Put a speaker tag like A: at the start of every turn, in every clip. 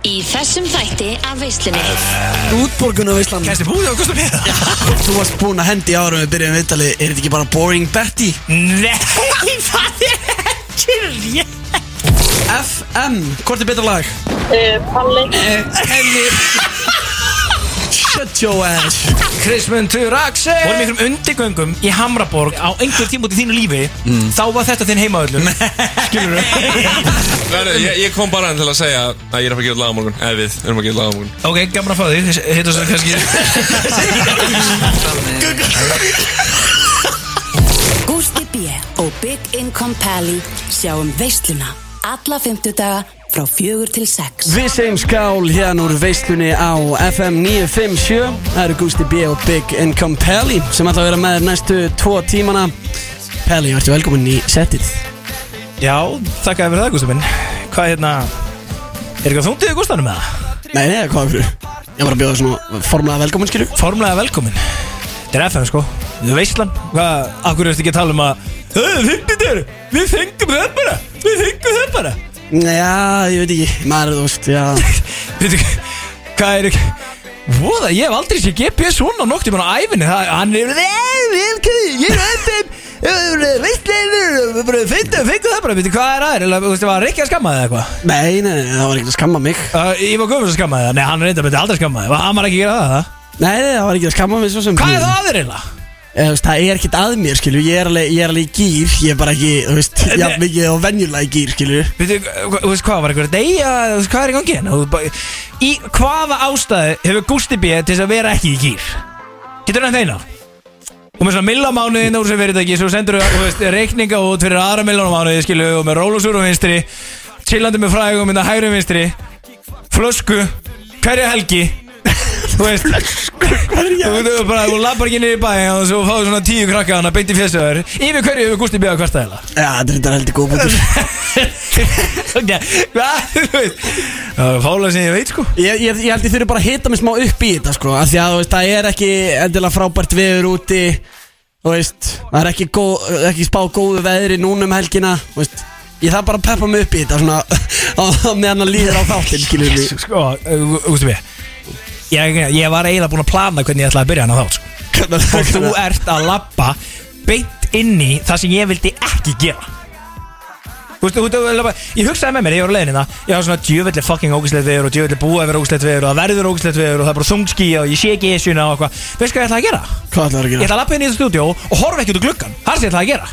A: Í þessum þætti af veislunni
B: Útborgun á Ísland
C: Kæsti búið á Gustaf Heiða
B: Þú varst búinn að hendi ára við byrjum viðtali Er þetta ekki bara Boring Betty?
C: Nei, það er ekki rétt
B: FM, hvort er betra lag?
D: Palli
B: Henni Shut your ass
E: Krismundur
C: Vorum
E: Axel
C: í einhverjum undirgöngum í Hamraborg á einhver tíma út í þínu lífi Þá var þetta þinn heimavöllur Skilur
F: Verðu, ég, ég kom bara til að segja að ég er að fara að gera laga morgun Eða við erum að gera laga morgun
C: Ok, gaman að fá því, hittu svo kannski
G: Gústi B. og Big Income Pally sjáum veisluna alla fymtudaga frá fjögur til sex.
B: Við segjum skál hérna úr veislunni á FM 957 Það eru Gusti B og Big Income Pelli sem ætla að vera með þér næstu tvo tímana Pelli, ertu velkominn í setið
C: Já, þakka fyrir það Gustaf minn Hvað er hérna Er eitthvað þungtið í Gustafanum með það?
B: Nei, nei, hvað er fyrir? Ég var að bjóða svona formulega velkominn, skilju
C: Formlega velkomin Þetta er FM sko Þú veistlan Hvað, akkur ertu ekki að tala um að Þau, við fengum það bara Við fengum það bara
B: Já, ég veit ekki, maður, þú veist, já
C: Veitu, hvað er ekki Voða, ég hef aldrei sé GPS svona nokt í mér á æfinni Það, hann er Ég er FM Veistleifur Fyndu, fyndu það bara, veitu, hvað er aðeir Þú veist, var Rikki að skamma þig eða eitthvað
B: Nei, nei, nei, það var ekkert að skamma mig
C: Uh, Ívar Guðmunds að skamma þig, nei, hann er eitthvað aldrei að skamma þig Hann var ekki að gera það, það
B: Nei, nei, það var ekkert að skamma mig svo sem
C: Hvað er það aðeir eiginlega?
B: Eða, þú veist, það er ekkert að mér, skilju, ég er alveg, ég er alveg í gýr, ég er bara ekki, þú veist, já,
C: Nei.
B: mikið og venjulega í gýr, skilju
C: Veitu, hva- þú veist hvað var eitthvað Deyja, þú veist, hvað er í gangi hérna Þú bara- Í hvaða ástæðu hefur Gusti B til þess að vera ekki í gýr? Getur hann þeina? Og með svona millamánuðin úr sem verið ekki Svo sendur þú, þú veist, reikninga út fyrir aðra millamánuði Skilu, og með rólusúr og vinstri Chillandi með frægum, mynda hægri vinstri Flösku Hverja helgi Þú veist Þú þú bara, þú lappar ekki niður í bæin Og svo fáið svona tíu krakka hana, beint í fjössuður Yfir hverju hefur Gusti B að kvarta heila?
B: Já, þetta er þetta heldur góð bútur
C: Ok, hvað, þú veist Það er fála sem ég veit sko
B: Ég, ég, ég held ég þurfi bara að hita mig smá upp í þetta, sko, af því að, þú veist, það er ekki endilega frábært veður úti, þú veist, það er ekki, góð, ekki spá góðu veðri núna um helgina, þú veist, ég þarf bara að peppa mig upp í þetta, svona, á, á- meðan að líður á þáttinn, skilju mig
C: Sko, ústu við ég, ég var eiginlega búin að plana hvernig ég ætlaði að byrja hana þá sko. Og þú ert að labba Beint inn í það sem ég vildi ekki gera Þú veist, þú veist, þú veist, ég hugsaði með mér, ég var á leiðinina Ég var svona djöfelli fucking ógislegt veður og djöfelli búið að vera ógislegt veður og það verður ógislegt veður og það er bara þungski og ég sé ekki esjuna og eitthvað Veist hvað ég ætlaði að gera?
B: Hvað ætlar að
C: Ég
B: gera?
C: ætlaði að lappa inn í þetta stúdíó og horfa ekki út úr gluggan Það er sem ég ætlaði að gera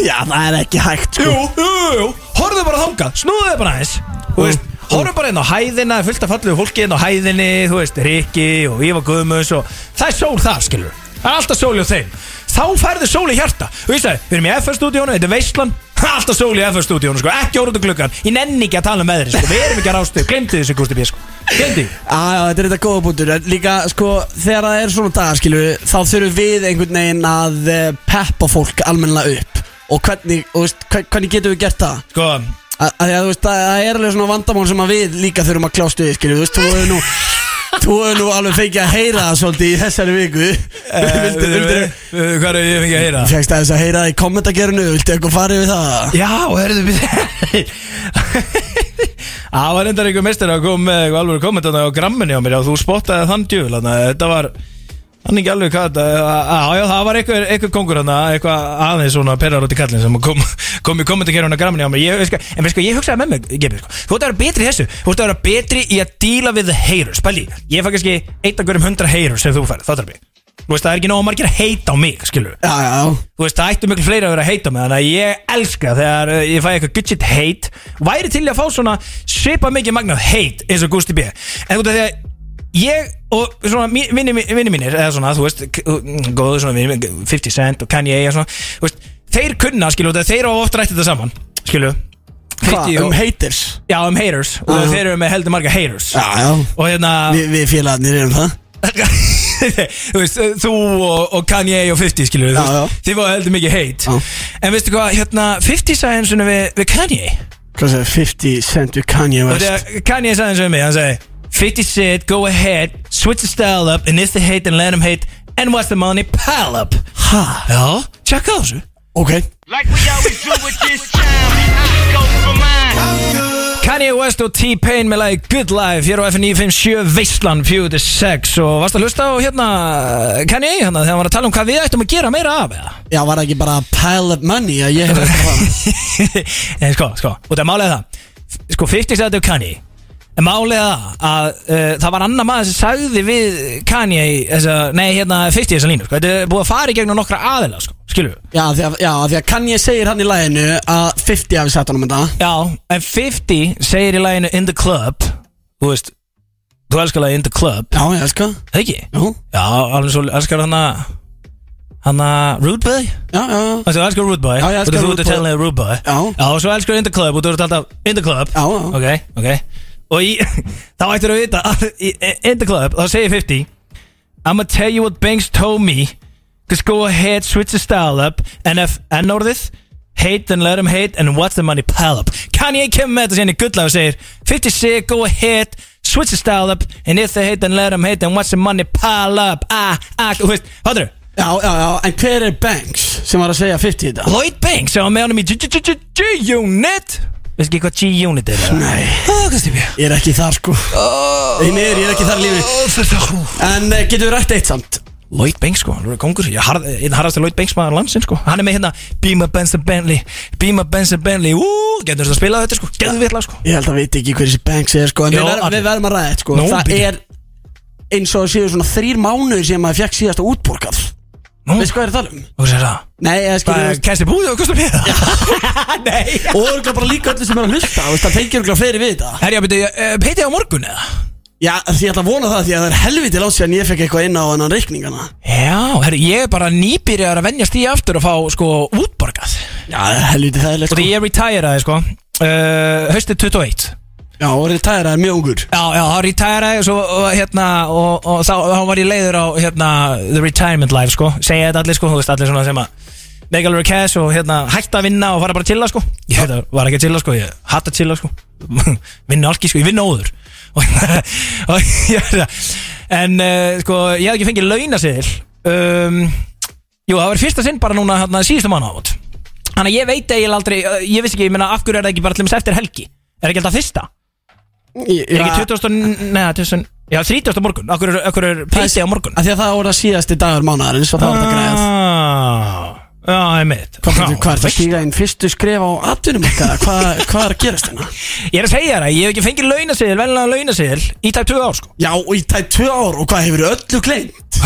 B: Já, það er ekki hægt, sko
C: Jú, jú, jú, jú, horfðu bara þangað, snúðu þig bara aðeins Þú veist, horfðu bara inn á hæðina, fullt af fallegu fólki inn á hæðinni Þú veist, Riki og Ívar Guðmunds og Það er sól það, skilur Það er alltaf sól hjá þeim Þá færðu sól í hjarta Og ég sagði, við erum í FF-stúdíónu, þetta er veistlan Alltaf sól í FF-stúdíónu, sko, ekki orðu gluggan Ég nenni ekki að tala um veðri, sko, við erum ekki að rástu Glemdi þessu, Gústi B, sko, glemdi
B: Já, já, þetta er þetta góða bútur Líka, sko, þegar það er svona dagar, skilur við, Þá þurfum við einhvern veginn að eh, peppa fólk almennilega upp Og hvernig, þú veist, hve- hvernig getum við gert það?
C: Sko,
B: Að, að, því að, þú veist, það það er alveg svona vandamál sem að við líka þurfum að klástu við, skilur við, Þú veist, þú hefur nú Þú hefur nú alveg fengið að heyra það svolítið í þessari viku
C: eh,
B: Vildu, vildu
C: eh, hvað er ég fengið að heyra?
B: Fjöngst aðeins að heyra það í kommentagerinu Viltu eitthvað farið við það?
C: Já, herðu við Það var reyndar einhver mestir að koma með eitthvað alveg kommentana á gramminni á mér og þú spottaði þann djúvel þannig að þetta var hann ekki alveg hvað þetta já, já, það var einhver, einhver kongur hann eitthvað aðeins svona perrar út í kallin sem kom, kom í kommentarkerfuna gramminni á mér ég, sko, en sko, ég hugsaði með mig Gebi, sko. þú ert að vera betri í þessu þú ert að vera betri í að díla við haters Spæli, ég fæ kannski eitt af hverjum hundra haters sem þú færð, það er Veist, það er ekki nóg margir að heita á mig, skilur
B: Já, já
C: Þú veist, það ættu miklu fleiri að vera að heita með Þannig að ég elska þegar uh, ég fæ eitthvað gudget heit Væri til í að fá svona Svipa mikið magnað heit eins og Gusti B En út af því að ég og svona mí- vinni mí- vinni mínir eða svona, þú veist, k- mm, góðu svona vinni 50 Cent og Kanye og svona þú veist, Þeir kunna, skilur, út af því að þeir á oft rætti þetta saman Skilur
B: Hvað,
C: 50 og-
B: um haters?
C: Já, um haters Og
B: Aha.
C: þeir eru með heldur marga haters
B: Já, já
C: Og hérna
B: Við, við félagarnir erum það
C: þú veist, þú og, og Kanye og 50 skilur
B: Já, já.
C: við, þið var heldur mikið heit
B: Já.
C: en veistu hvað, hérna 50 sagði eins og við, við Kanye
B: Hvað segir 50 cent við Kanye
C: og
B: West?
C: þegar Kanye sagði eins og við mig, hann sagði 50 said, go ahead, switch the style up and if they hate and let them hate and what's the money, pile up
B: Ha,
C: já, tjekka á þessu
B: ok
H: Like we always do with this time, I go for mine.
C: Kanye West og T-Pain með lagi Good Life hér á FN957 Veistland 46 og varst að hlusta á hérna Kanye hérna þegar hann var að tala um hvað við ættum að gera meira af eða
B: Já, var það ekki bara pile up money að ég hefði
C: Nei, sko, sko, og það er málið það Sko, 50 sagði þetta Kanye En málið er það að uh, það var annar maður sem sagði við Kanye þessa, Nei, hérna, 50 þessa línu sko. Þetta er búið að fara í gegnum nokkra aðila, sko, skilur við
B: Já, af því að, já, af því að kann ég segir hann í læginu að 50 hafi sett honum þetta
C: Já, en 50 segir í laginu In the Club Þú veist, þú elskar lagið In the Club
B: Já, ég sko
C: Það ekki?
B: Jú,
C: Já, alveg svo elskar hann að Hann að Rude Boy?
B: já, já, já,
C: Þú elskar Rude Boy?
B: Já, ég elska
C: Þú- Þú
B: Rude
C: ert að
B: Boy.
C: tella Rude Boy
B: Já.
C: Já, og svo elskar In the Club og þú ert alltaf In the Club
B: já, já.
C: Ok, ok Og í, þá ættir að vita að í- In the club, þá segir 50 I'ma tell you what Banks told me Just go ahead, switch the style up And if N-orðið Hate and let him hate and watch the money pile up Kanye kemur með þetta síðan í gullag og segir 50 sig, go ahead, switch the style up And if they hate and let him hate and watch the money pile up Ah, ah, þú veist, hátru
B: já, já, já, en hver er Banks sem var að segja 50 þetta?
C: Lloyd Banks, sem var með honum í G-G-G-G-Unit Veist ekki hvað G-Unit er?
B: Nei.
C: Ah, hvað stið við?
B: Ég er ekki þar sko
C: Oh.
B: Því miður, ég er ekki þar í lífi En eh, getum við rætt eitt samt
C: Lloyd Banks sko, hann er kongur Ég harð, einn harðast er Lloyd Banks maður landsinn sko Hann er með hérna Beamer Benson Bentley Beamer Benson Bentley Ú, getur þetta að spila þetta sko Getur við lag sko
B: Ég held að veit ekki hver þessi Banks er sko En
C: Jó,
B: við, ver,
C: allir.
B: við verðum að ræða þetta sko
C: Nú,
B: Það
C: bíddu.
B: er eins og það séu svona þrýr mánuðir sem maður fekk síðasta útborgað
C: Nú,
B: Veistu hvað ég er að tala um?
C: og sér það
B: Nei, ég
C: Bara
B: skilur
C: kæsti búið og kostum hér Nei
B: Og örgulega bara líka öllu sem er að hlusta þú veist, Það fengir örgulega fleiri við þetta
C: Herja, beti, uh, heiti á morgun eða?
B: Já, því ég ætla að vona það því að það er helviti látt síðan ég fekk eitthvað inn á annan reikningana
C: Já, herri, ég er bara nýbyrjar að venjast í aftur að fá sko útborgað
B: Já, það er helviti það er
C: Og
B: leitt
C: því
B: sko
C: ég retireaði sko uh, Haustið 21
B: Já, og retæra er mjög ungur
C: Já, já, þá retireaði og, svo, og, hérna, og, og þá, þá var ég leiður á hérna, the retirement life, sko segja þetta allir, sko, þú veist, allir svona sem að make a lot of cash og hérna, hætta að vinna og fara bara að chilla, sko ég veit að var ekki að chilla, sko, ég hatt að chilla, sko vinna alki, sko, ég vinna óður og, og ég veit að en, uh, sko, ég hafði ekki fengið launaseðil um, jú, það var í fyrsta sinn bara núna, hérna, síðustu mánu ávot þannig að ég veit eiginlega aldrei uh, ég vissi ekki, ég meina, af hverju er það ekki bara til dæmis eftir helgi er ekki alltaf fyrsta?
B: Ég
C: Er ekki 20. Neða, 20. Já, 30. á morgun Akkur er, akkur er peiti á morgun
B: Því að það voru að síðasti dagur mánuðarins og það var þetta græð
C: Ah, Já, ég mitt
B: Hvað er þetta að stíga inn fyrstu skref á atvinnum okkar? Hvað, hvað er að gerast hérna?
C: Ég er að segja það, ég hef ekki fengið launaseðil, venlega launaseðil Í tæp 20 ár, sko
B: Já, og í tætt tvö ár og hvað hefur öllu gleymt?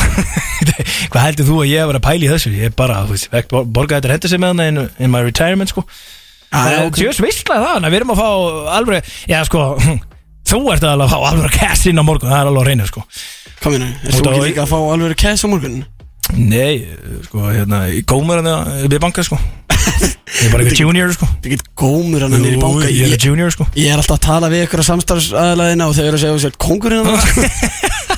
C: Hvað heldur þú að ég hef verið að pæla í þessu? Ég er bara, þú veist, vekk borga þetta hendur sem með hana in, in my retirement, sko
B: Já, ok.
C: Sjöss visslaði það, þannig að við erum að fá alveg Já, sko, þú ert alveg að fá alveg cash inn á morgun Það er alveg að reyna, sko
B: Kom hérna, er þú
C: Út á-
B: ekki líka að fá alveg kæs á morgun?
C: Nei, sko, hérna, í gómur hann við banka, sko Ég er bara eitthvað junior, sko
B: Þú get gómur hann niður í banka
C: Jú, ég er
B: ég,
C: junior, sko
B: ég er alltaf að tala við ykkur á samstarfsaðlaðina og þau eru að segja sér kongurinn hann sko.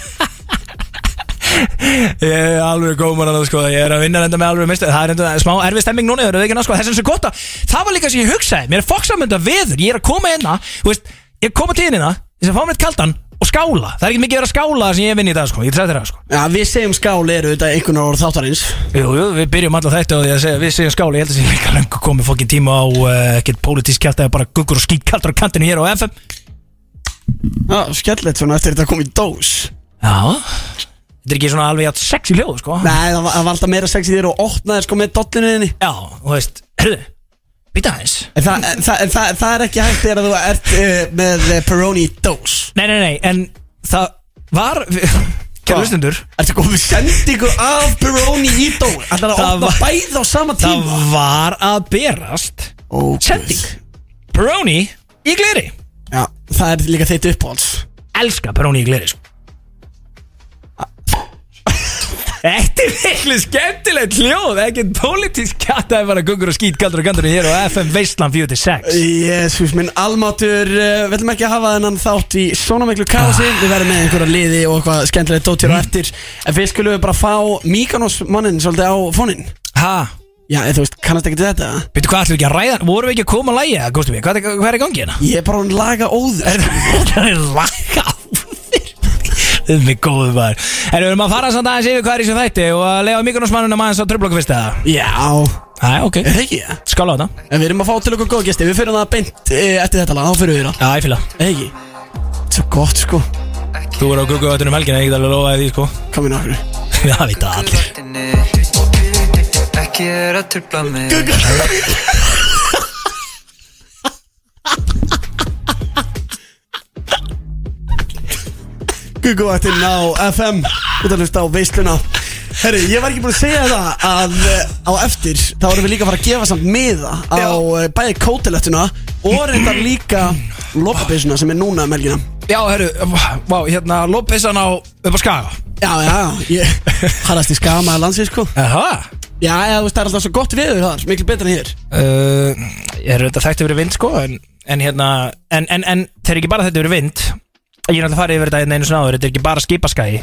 C: Ég er alveg gómar annað sko Ég er að vinna reynda með alveg mistu Það er reynda smá erfið stemming núna Það er ekki annað sko Þess að svo gott að Það var líka sem ég hugsaði Mér er fokksamönda veður Ég er að koma hérna Þú veist Ég er að koma til hérna Þess að fá mér eitt kaldan Og skála Það er ekki mikið verið að skála Það sem ég vinn í dag sko Ég sagði þér það sko
B: Já, við segjum skál eru þetta einhvern orð þáttarins
C: Jú, jú, við byrjum alltaf þetta á því að segja Við segjum skála Ég held að sé líka lengur komið fokkin tíma á uh, Ekkert pólitísk kjátt Eða bara guggur og skýt kaldur á kantinu hér á FM
B: Já, skellett svona eftir þetta kom í dós
C: Já Þetta er ekki svona alveg jafn sexy hljóð sko
B: Nei, það var, það var alltaf meira sex í þér og opnaði sko með dollinu þinni
C: Já, þú veist Herðu, býta aðeins
B: En það, en það, en það, það er ekki hægt þegar þú ert uh, með eh, Peroni í dós
C: Nei, nei, nei, en það var Kæra
B: Hvað?
C: hlustendur
B: Ertu komið sendingu af Peroni í dós Ætlar að
C: Það
B: opna
C: var-
B: bæð á sama
C: Það
B: tíma
C: var að berast
B: Ó,
C: Sending
B: guð.
C: Peroni í gleri
B: Já, það er líka þitt uppáhalds
C: Elska Peroni í gleri sko. Þetta er miklu skemmtilegt hljóð Ekkert pólitísk kjátt Það er bara gungur og skýt kaldur og kandur Hér á FM Veistland 46
B: Jésús minn almátur uh, Við ætlum ekki að hafa þennan þátt í svona miklu kási Við verðum með einhverja liði og eitthvað skemmtilegt dóttir
C: Mm.
B: og eftir En við skulum bara fá Míkanos mannin svolítið á fónin
C: Ha,
B: Já, eða þú veist, kannast ekki til þetta
C: veitu hvað ætlum við ekki að ræða Vorum við ekki að koma að lægja, Gústi mér Hvað, hvað er í gangi hérna?
B: Ég er bara hún laga óður
C: Þetta er laka áfyrir Þetta er mig góðu maður En við erum að fara samt aðeins yfir hvað er í þessu þætti Og að lega mikunum smannunum aðeins á tröflokku fyrst eða
B: Já
C: Æ, ok
B: Er það ekki? ja?
C: Skála á þetta
B: En við erum að fá til okkur góða gesti Við fyrir það beint e, eftir þetta lag Þá fyrir við það
C: Já, ég fylg
B: Er það ekki? Svo gott sko
C: Þú er á gugguðvættunum helgina, ég get alveg lofaði því, sko
B: Komið nokkur
C: Já, það vita allir
D: Ekki er að trubla mig
B: Guguvaktinn á FM Út að hlusta á veisluna Herri, ég var ekki búin að segja það að eh, á eftir þá erum við líka að fara að gefa samt miða á Já. bæði kótelettuna og reyndar líka loppabeysuna sem er núna um helgina
C: Já, herru, vá, hérna, lóppissan á upp á skaga
B: Já, já, já, ég harðast í skamaða landsins sko
C: Aha
B: Já, já, þú veist, það er alltaf svo gott viður þar, miklu betur en hér
C: uh, Ég er auðvitað þekkt fyrir vind, sko En, en hérna, en, en, en Þeir eru ekki bara þetta fyrir vind Ég er náttúrulega farið yfir þetta hérna einu sinna áður Þetta er ekki bara skipaskagi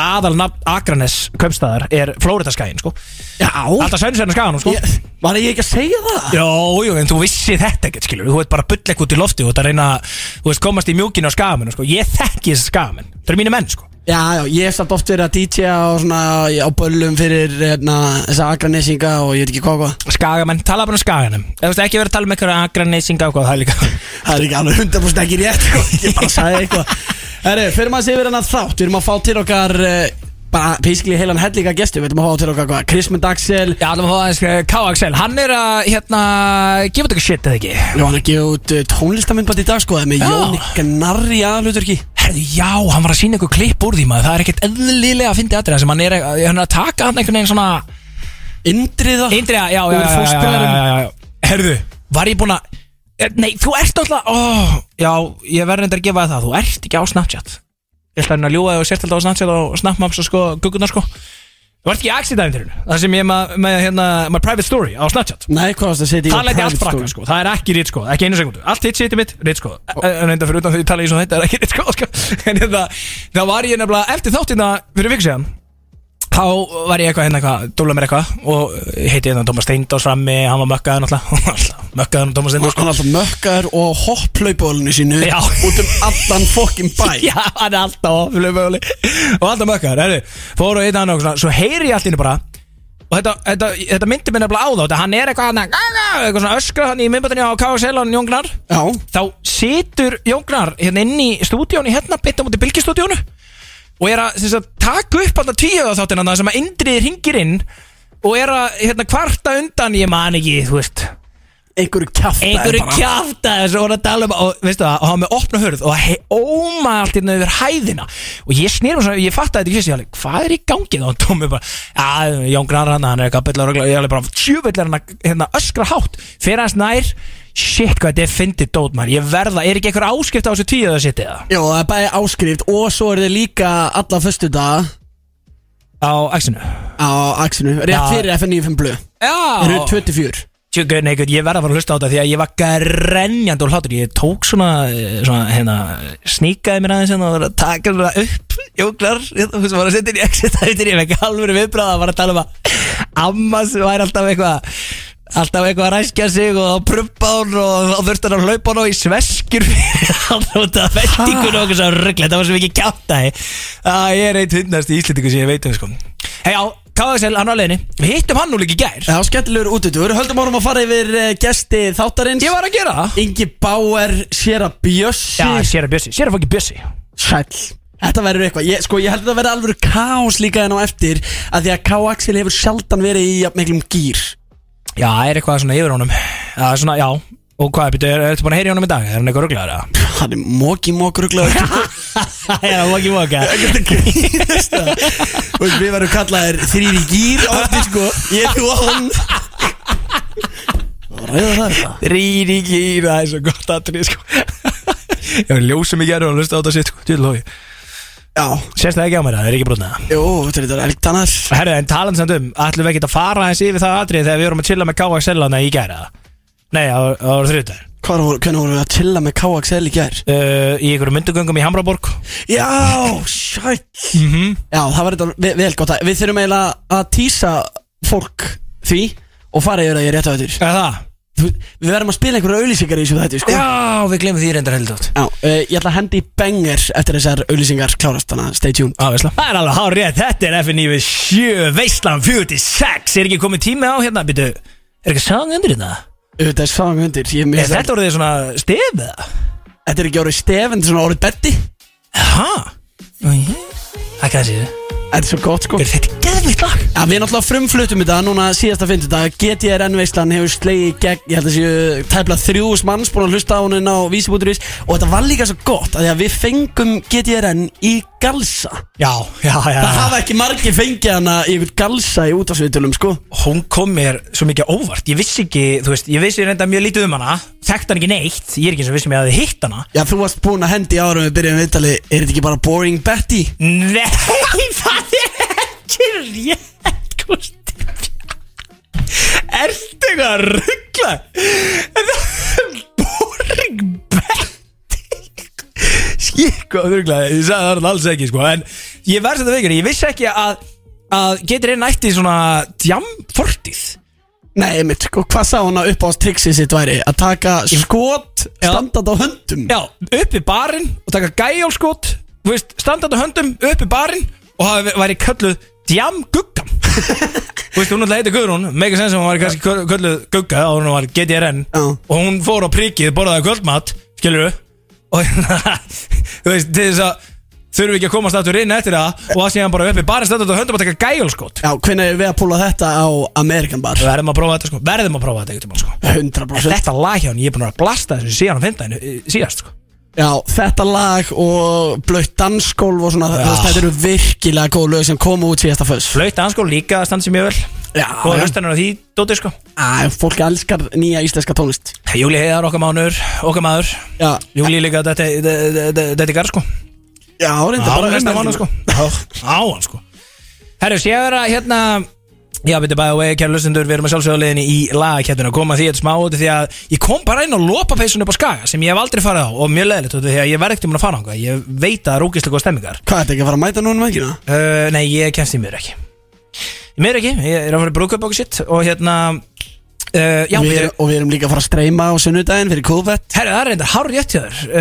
C: Aðal nafn Akranes kaupstæðar er Flóridaskagin, sko
B: Já,
C: Alltaf sönnsverðin skagan, sko
B: ég, var ég ekki að segja það?
C: Jó, jú, en þú vissi þetta ekkert, skilur Þú veit bara bull ekkert út í lofti Þú veit að reyna, að, þú veist, komast í mjúkinu á skagaminu, sko Ég þekki þessi skagamenn Það eru mínu menn, sko
B: Já, já, ég hef samt oft verið að DJ-a og svona á böllum fyrir hérna, þessa agranesinga og ég veit ekki hvað og hvað
C: Skagamenn, tala bara um skaganum Þú veist ekki verið að tala um einhverja agranesinga og hvað það er líka
B: Það er ekki alveg 100% ekki rétt sko. Ég bara sagði eitthvað Herru, fyrir maður sér við hann að þátt Við erum að fá til okkar eh, Bara basically heilan hellinga gesti Við erum að fá til okkar hvað Krismund Axel
C: Já, alveg hóða aðeins eh, K-Axel Hann er að, hérna, gefa þetta shit eða ekki
B: Nú hann er að gefa út tónlistamindband eh, í dag sko það er Með
C: Já.
B: Jóni Gnarri aðluturki
C: Herðu, já, hann var að sína eitthvað klipp úr því maður Það er ekkert eðlilega að fyndi aðrið sem hann er, að- hann er að taka hann einhvern veginn svona
B: Indriða
C: Indriða, já, já,
B: Úr
C: já, já, já, já,
B: fóstbræðrum.
C: já, já Herðu, var ég búin að Eh, Nei, þú ert alltaf ó, Já, ég verður þetta að gefa þér það Þú ert ekki á Snapchat Ég ætla henni að ljúga þig og sért alltaf á Snapchat og Snapmaps og sko, guggunar sko Þú ert ekki í Axidæfintirinu Það sem ég er með, með hérna, my private story á Snapchat
B: Nei, hvað varst að setja í
C: Það læti
B: private
C: allt frakka
B: story?
C: sko, það er ekki rít sko, ekki einu sekundu Allt hitt seti mitt, rít sko Reynda fyrir utan því ég tala í svo þetta er ekki rít sko, sko. En hérna, þá var ég nefnilega eftir þáttina fyrir viku síðan Þá var ég eitthvað hérna eitthvað, dúla mér eitthvað Og heiti hérna Tómas Steindós frammi, hann var mökkaður náttúrulega Mökkaður Tómas Steindós sko
B: Hann er alltaf mökkar og hopplaupólinu sínu
C: Já.
B: Út um allan fokkin bæ
C: Já, hann er alltaf oflöfumöli Og alltaf mökkaður, herri Fóru og eitthvað annað og svona, svo heyri ég allt inni bara Og þetta, þetta, þetta myndi mér nefnilega á þá Þetta hann er eitthvað hann Eitthvað svona öskra hann í myndbættinu á KSL og Jóngnar
B: Já,
C: þá situr Jóngnar hérna inn í stúdíónu hérna beint á móti bylgjastúdíónu og er að, sem sagt, taka upp hann að tíuða þáttina þarna sem að Indriði ringir inn og er að hérna kvarta undan ég man ekki, þú veist
B: einhverju kjafta
C: einhverju kjafta þessu og hann að tala um og veistu það, og hann með opna hörð og hei, óma allt hérna yfir hæðina og ég snýr mér svona, ég fatt að þetta ekki sér hvað er í gangi þá, og Tómi bara að Jón Grannar hann, hann er eitthvað byllar og ég er alveg bara, tjúvill er hann að hérna, öskra hátt fyrir hans nær, shit hvað þetta er fyndið dót maður, ég verða, er ekki einhver áskipt á þessu tíu það sitt eða,
B: Jó, það er bæði áskrift og svo er þið líka alla föstu
C: á exinu
B: á Axinu Rétt
C: Já.
B: fyrir FN95 Blöð Eru
C: já,
B: 24
C: tjúkur, nei, guð, ég verða að fara að hlusta á þetta því að ég var grenjandi og hlátur ég tók svona, eh, svona hérna, sníkaði mér aðeins hérna og var að taka svona upp jóklar, hérna, þú sem var að setja inn í exit þættir, ég vekki alveg viðbráð að var að tala um að amma sem væri alltaf eitthvað alltaf eitthvað að ræskja sig og þá prumpa hún og þá þurfti hann að hlaupa hann á í sveskjur fyrir hann út af vendingun og okkur svo rugglega, það var svo mikið kjáttæði að ég er eitt hundast í Íslendingu sem ég veit um sko Hei á, KSL, hann á leiðinni, við hittum hann nú líka í gær
B: Já, skemmtilegur útutur Höldum árum að fara yfir uh, gesti þáttarins
C: Ég var að gera það
B: Ingi Bauer, Sera Bjössi
C: Já, sér að bjössi, sér að fokki bjössi
B: Sæll Þetta verður eitthvað, ég, sko ég held að það verður alveg kaos líka en á eftir að því að K. Axel hefur sjaldan verið í jafn miklum gýr
C: Já, er eitthvað svona yfir honum Já, svona, já Og hvað, betur, er þetta búin að heyra í honum í dag? Er hann eitthvað rugglaður eða?
B: Hann er móki mókruglega
C: Já, vokki vokka
B: Og við verðum kallaðir þrýri gýr á eftir sko Ég, þú og hann Ræða það þetta
C: Rýri gýr, það er svo gott aðrið, sko Ég var ljósum í gerð og hann lusti á þetta sitt, sko, djúðlói
B: Já,
C: Sérst það ekki á mér, það er ekki brotnað
B: jú, þetta er ekkert annars
C: Herru, en talan samt um, ætlum við ekki að fara eins yfir það aðrið þegar við vorum að chilla með K.A. Sellana í gerða Nei, það var- það voru þrjóðar
B: Hvar voru, hvernig voru við að chilla með K. Axel í gær?
C: uh, Í einhverjum myndugöngum í Hamraborg
B: Já, sæll Já, það var þetta vel, vel gott að- Við þurfum eiginlega að týsa fólk því og fara yfir það ég rétt á þetta
C: Er það?
B: þú, Við verðum að spila einhverja auðlýsingar í þessu þetta sko.
C: Já, við glemum því reyndar heldur átt
B: Já, uh, Ég ætla að hendi í bengir eftir þessar auðlýsingar klárast Þannig að stay tuned
C: Áveisla Það er alveg hár rétt, þetta er FNI við 7 Veislan 46 Er ekki komið tími á hérna, byrju Er ekki sang undir þetta?
B: Þetta er svang undir ég, mér
C: Er
B: finnst
C: þetta orðið svona stefið það?
B: að- Þetta er ekki orðið stef, en þetta er svona orðið betti
C: Ha? Það er kannski
B: Þetta er svo gott sko
C: Er þetta geðvitt lag?
B: Já, við náttúrulega frumflutum þetta núna síðasta fyndudag GTRN Veislan hefur slegið í gegn Ég held að séu tæpla þrjús manns búin að hlusta á hún á vísi.is Og þetta var líka svo gott að því að við fengum GTRN í galsa
C: Já, já, já
B: Það hafa ekki margir fengið hana í einhvern galsa í útafsviðtölum sko
C: Hún kom mér svo mikið á óvart Ég vissi ekki, þú veist, ég vissi reynda mjög lítið um hana Þekkt hann ekki neitt Ég er ekki svo vissum ég að þið hitt hana
B: Já, þú varst búin að hendi ára við byrjum viðtali Er þetta ekki bara Boring Betty?
C: Nei, það er ekki rétt Gústi Ertu eitthvað að ruggla? Boring Betty Skikku að ruggla Ég sagði það alls ekki sko En ég verð þetta veikir Ég vissi ekki að, að getur einn ætti svona Djamfortið
B: Nei, mitt, sko, hvað sá hana upp á triksi sitt væri? Að taka skot
C: Já.
B: standand á höndum
C: Já, upp í barinn og taka gæjálskot Þú veist, standandi höndum upp í barinn Og það væri kölluð Djamguggam Þú veist, hún alltaf heitir Guðrún Mega sens að hún væri kannski köll- kölluð Gugga Og hún var GTRN
B: Já.
C: Og hún fór á prikið, borðaði kvöldmat Skilur við Og hérna, þú veist, til þess að Þurfum ekki að komast aftur inn eftir það Og það sé hann bara upp í barinn standandi höndum og taka gæjálskot
B: Já, hvernig erum við að púla þetta á American Bar?
C: Verðum að prófa þetta sko Verðum að prófa þetta eitthvað sko
B: 100%
C: En þetta lag hjá hann, ég er búin að blasta þessu síðan á fimmtæðinu síðast sko
B: Já, þetta lag og blöitt dansgólf og svona þú veist, Þetta eru virkilega góð lög sem koma út síðasta föðs
C: Flöyt danskól líka að standa sér mjög vel
B: Já,
C: Og
B: já.
C: hlustanur á því, Dóti sko
B: Æ, fólk elskar nýja íslenska tónlist
C: Júli heiðar okkar mánur, okkar maður
B: Já,
C: Júli líka þetta þetta er garð sko
B: já reynda
C: Á
B: bara
C: næsta
B: um helgina.
C: mánu sko Á hann sko Herru, sé að vera hérna Já, byrju bæði og vegi, kæra lustendur, við erum að sjálfsögðaliðinni í lagakjættinu að koma því að smá út af því að ég kom bara inn á lopapeysun upp á skaga sem ég hef aldrei farið á og mjög leðilegt út af því að ég verð ekkert um að fara á ég veit að það er ógeðslega góð stemmingar
B: Hvað, þetta ekki að fara að mæta núna um mækina?
C: Uh, nei, ég kemst í miður ekki Í miður ekki, ég er að fara í brúkup okkur sitt Og hérna uh, Já,
B: Og við,
C: við...
B: og við erum líka að fara að streyma á sunnudaginn fyrir COVID
C: herri, það er reyndar hár rétt hjá þér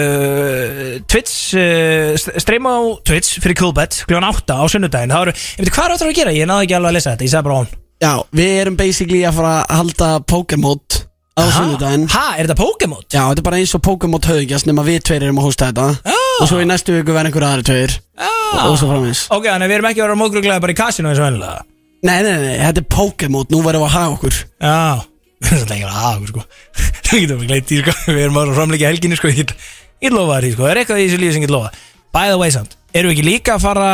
C: uh, Twitch uh, st- Streyma á Twitch fyrir Coolbet Kljóðan 8 á sunnudaginn Það eru, ég veit, hvað áttur að gera? Ég náði ekki alveg að lesa þetta, ég sagði bara á hann
B: Já, við erum basically að fara að halda Pokémon á sunnudaginn
C: Ha, er þetta Pokémon?
B: Já, þetta er bara eins og Pokémon höfðingjast nema við tveir erum að hósta þetta
C: Já.
B: Og svo í næstu viku verða einhverja aðri tveir
C: Ah.
B: Og svo framins
C: Ok, þannig að við erum ekki að vera mógruglega bara í kasinu eins og ennlega
B: Nei, nei, nei, þetta er Pokémon, nú verðum við að hafa okkur
C: Já Það er ekki að hafa sko Það getum við gleynt í sko Við erum að framleika helginni sko Ég get- ég get lofa því sko Það er eitthvað í þessu lífi sem ég get lofa By the way samt Erum við ekki líka að fara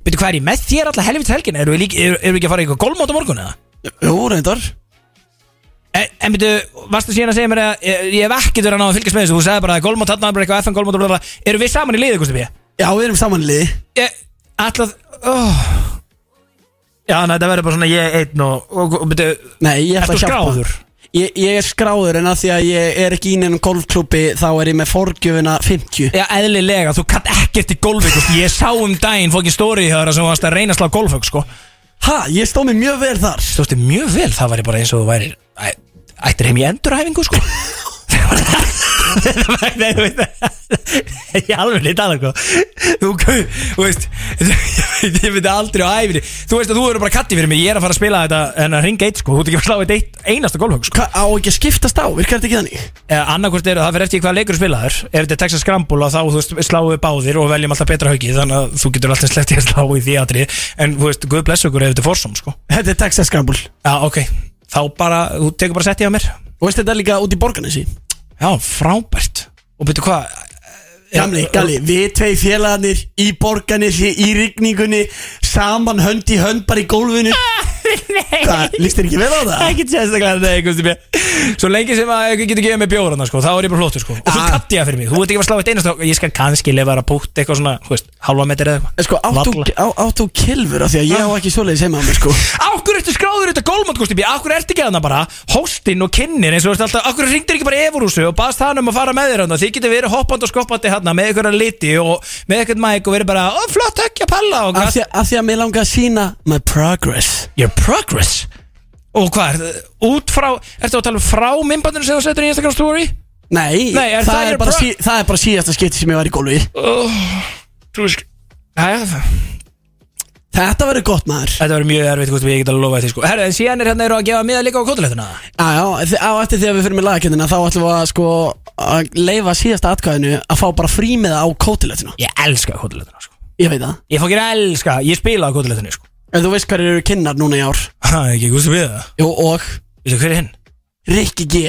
C: Veitu hvað er ég með þér alltaf helvitt helgin Erum við, líka, er, erum við ekki að fara í eitthvað golfmót á morgun eða
B: Jú, reyndar
C: En, en veitu Eh, Varstu síðan að segja mér að eh, Ég, ég hef ekkert verið að ná að fylgjast með þessu Þú sagði bara að golfmót þarna bara eitthvað FN golfmót og bla, bla, bla. Erum við saman í liði Gusti B?
B: Já, við erum samanlið
C: Ég ætlað oh. Já þannig að þetta verður bara svona ég einn og, og, og byrju,
B: Nei, ég ætla
C: Ertu
B: að hjálpa
C: skráður?
B: Ég, ég er skráður en að því að ég er ekki í neinum golfklubbi þá er ég með forgjöfina 50
C: Já, eðlilega, þú katt ekkert í golfi Gústi. Ég sá um daginn fókin stóri í það sem varst að reyna að slá golfhug sko.
B: Ha, ég stóð mig mjög vel þar
C: Þú veist, mjög vel, það væri bara eins og þú væri æ- Ættir heim í endurhæfingu sko. Nei, þú veit Ég alveg neitt alveg sko. Þú þú veist Ég veit aldrei á æfinni Þú veist að þú eru bara katti fyrir mig Ég er að fara að spila þetta en að ringa eitt sko Þú ert ekki að fara að slá eitt eitt- einasta golfhug sko. Eh,
B: Hva, á ekki að skiptast á, virkar þetta ekki þannig?
C: annarkvort er að það fyrir eftir hvað leikur spilaður ef þetta er Texas Scramble að þá þú veist, sláum við báðir og veljum alltaf betra haugi þannig að þú getur alltaf slefti að slá í því aðri en þú veist, guð bless okkur ef þetta er fórsum sko.
B: Þetta er Texas Scramble
C: já, ok, þá bara, þú tekur bara setti á mér
B: Og veist þetta er líka út í borganessi?
C: já, frábært og byrju hvað
B: Gamli, gali, við tvei félagarnir í borganessi, í rigningunni saman hönd í hönd bara í gólfinu Hvað, líst þér ekki vel á það?
C: ekki sérstaklega þetta eitthvað sem ég svo lengi sem að ég getur gefið mig bjórana sko, þá er ég bara flottur sko. og svo
B: Ah.
C: katti ég fyrir mig, þú veit ekki að slá eitt einast ég skal kannski lefa að pútt eitthvað svona þú veist, halva metri eða
B: En Sko, áttu,
C: Valla.
B: á, áttu kilfur af því að ég á ekki svoleiðis heima á mér sko
C: Akkur ertu skráður þetta gólmátt, Gusti B? Akkur ertu ekki þarna bara hóstinn og kynnir eins og ertu alltaf Akkur ringdur ekki bara Evorúsu og baðst hann um að fara með þér hann Þið getur verið hoppandi og skoppandi hann með einhverja liti og með eitthvað mæk og verið bara Ó, flott höggja palla og
B: Af
C: hvað
B: því, af því að mér langar að sína my progress
C: Your progress Og hvað, er, uh, út frá, ertu að tala um frá minnbandinu sem þú setur í Instagram story?
B: Nei,
C: Nei, er
B: það,
C: það
B: er
C: your
B: bara
C: pro-
B: sí, það er bara síðasta skipti sem ég var í gólfi
C: Þú veist Jæja,
B: Þetta verður gott maður
C: þetta verður mjög erfitt, Gústi, ég get alveg lofað því sko Herra, en síðan er hérna eru að gefa miða líka á kótuleituna
B: Já, já, þi- á eftir þegar við fyrir með lagakendina þá ætlum við að sko að leifa síðasta atkvæðinu að fá bara frímiða á kótilettina
C: Ég elska kótuleituna sko
B: Ég veit það
C: Ég fókir elska, ég spila á kótuleituna sko
B: En þú veist hverju eru kynnar núna í ár
C: Ha, ekki Gústi við það
B: Jú, og
C: Veistu hver er hinn?
B: Rikki G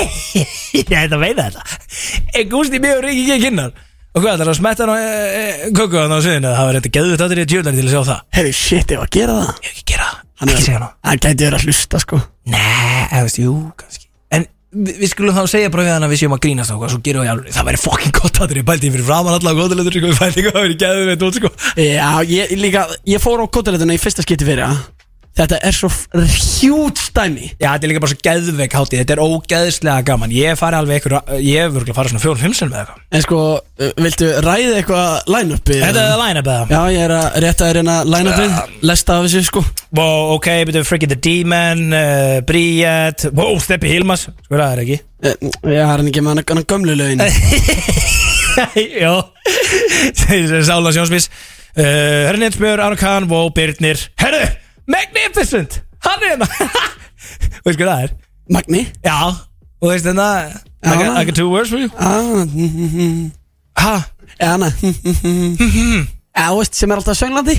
C: Ég ætla að veita þetta Er Gústi mjög og Riki ekki kinnar Og hvað, það er að smetta hann á eh, kukku hann á sviðinu Það var þetta geðvitt áttir í tjúlari til að sjá það
B: Herri, shit, ég var að gera það
C: Ég hef ekki gera það,
B: Hann
C: ekki
B: er,
C: segja hann
B: hann gæti verið að hlusta sko
C: Nei, eða veist, jú, kannski En við, við skulum þá segja bara við hann að við séum að grínast og hvað svo gerum við í alveg Það væri fokkin gott að þeirri bældi fyrir framan allar góðalendur sko, við bældi hvað verið gæðið með tótt sko
B: Já, ég líka, ég fór á kótilettina í fyrsta skipti fyrir það Þetta er svo hjút stæmi
C: Já, þetta er líka bara svo gæðveik hátíð, þetta er ógæðslega gaman Ég fari alveg ykkur, ég hef vörgulega farið svona fjórum fimmsinn með eitthvað
B: En sko, uh, viltu ræða eitthvað line-upi?
C: Þetta er að læna beða
B: Já, ég er að rétta þér hérna line-upið Lesta af þessu sko
C: Wow, ok, betur Friggy the Demon, uh, Bríett Wow, Steppi Hilmas, sko það er ekki
B: Eh, Já, það er hann ekki með hann hann gömlu lögin
C: Jó, Sála Sjónsmís uh, Hörnins Björ, Arn Kahn, Vó, Birnir Herru, Magnificent Hann er hérna Veist hvað það er?
B: Magni
C: Já, og veist hérna, þetta I
B: Já.
C: got- I got two words for you
B: Ah, hm, hm, hm.
C: Ha?
B: Eða hana hm, hm, hm. Já, veist, sem er alltaf sönglandi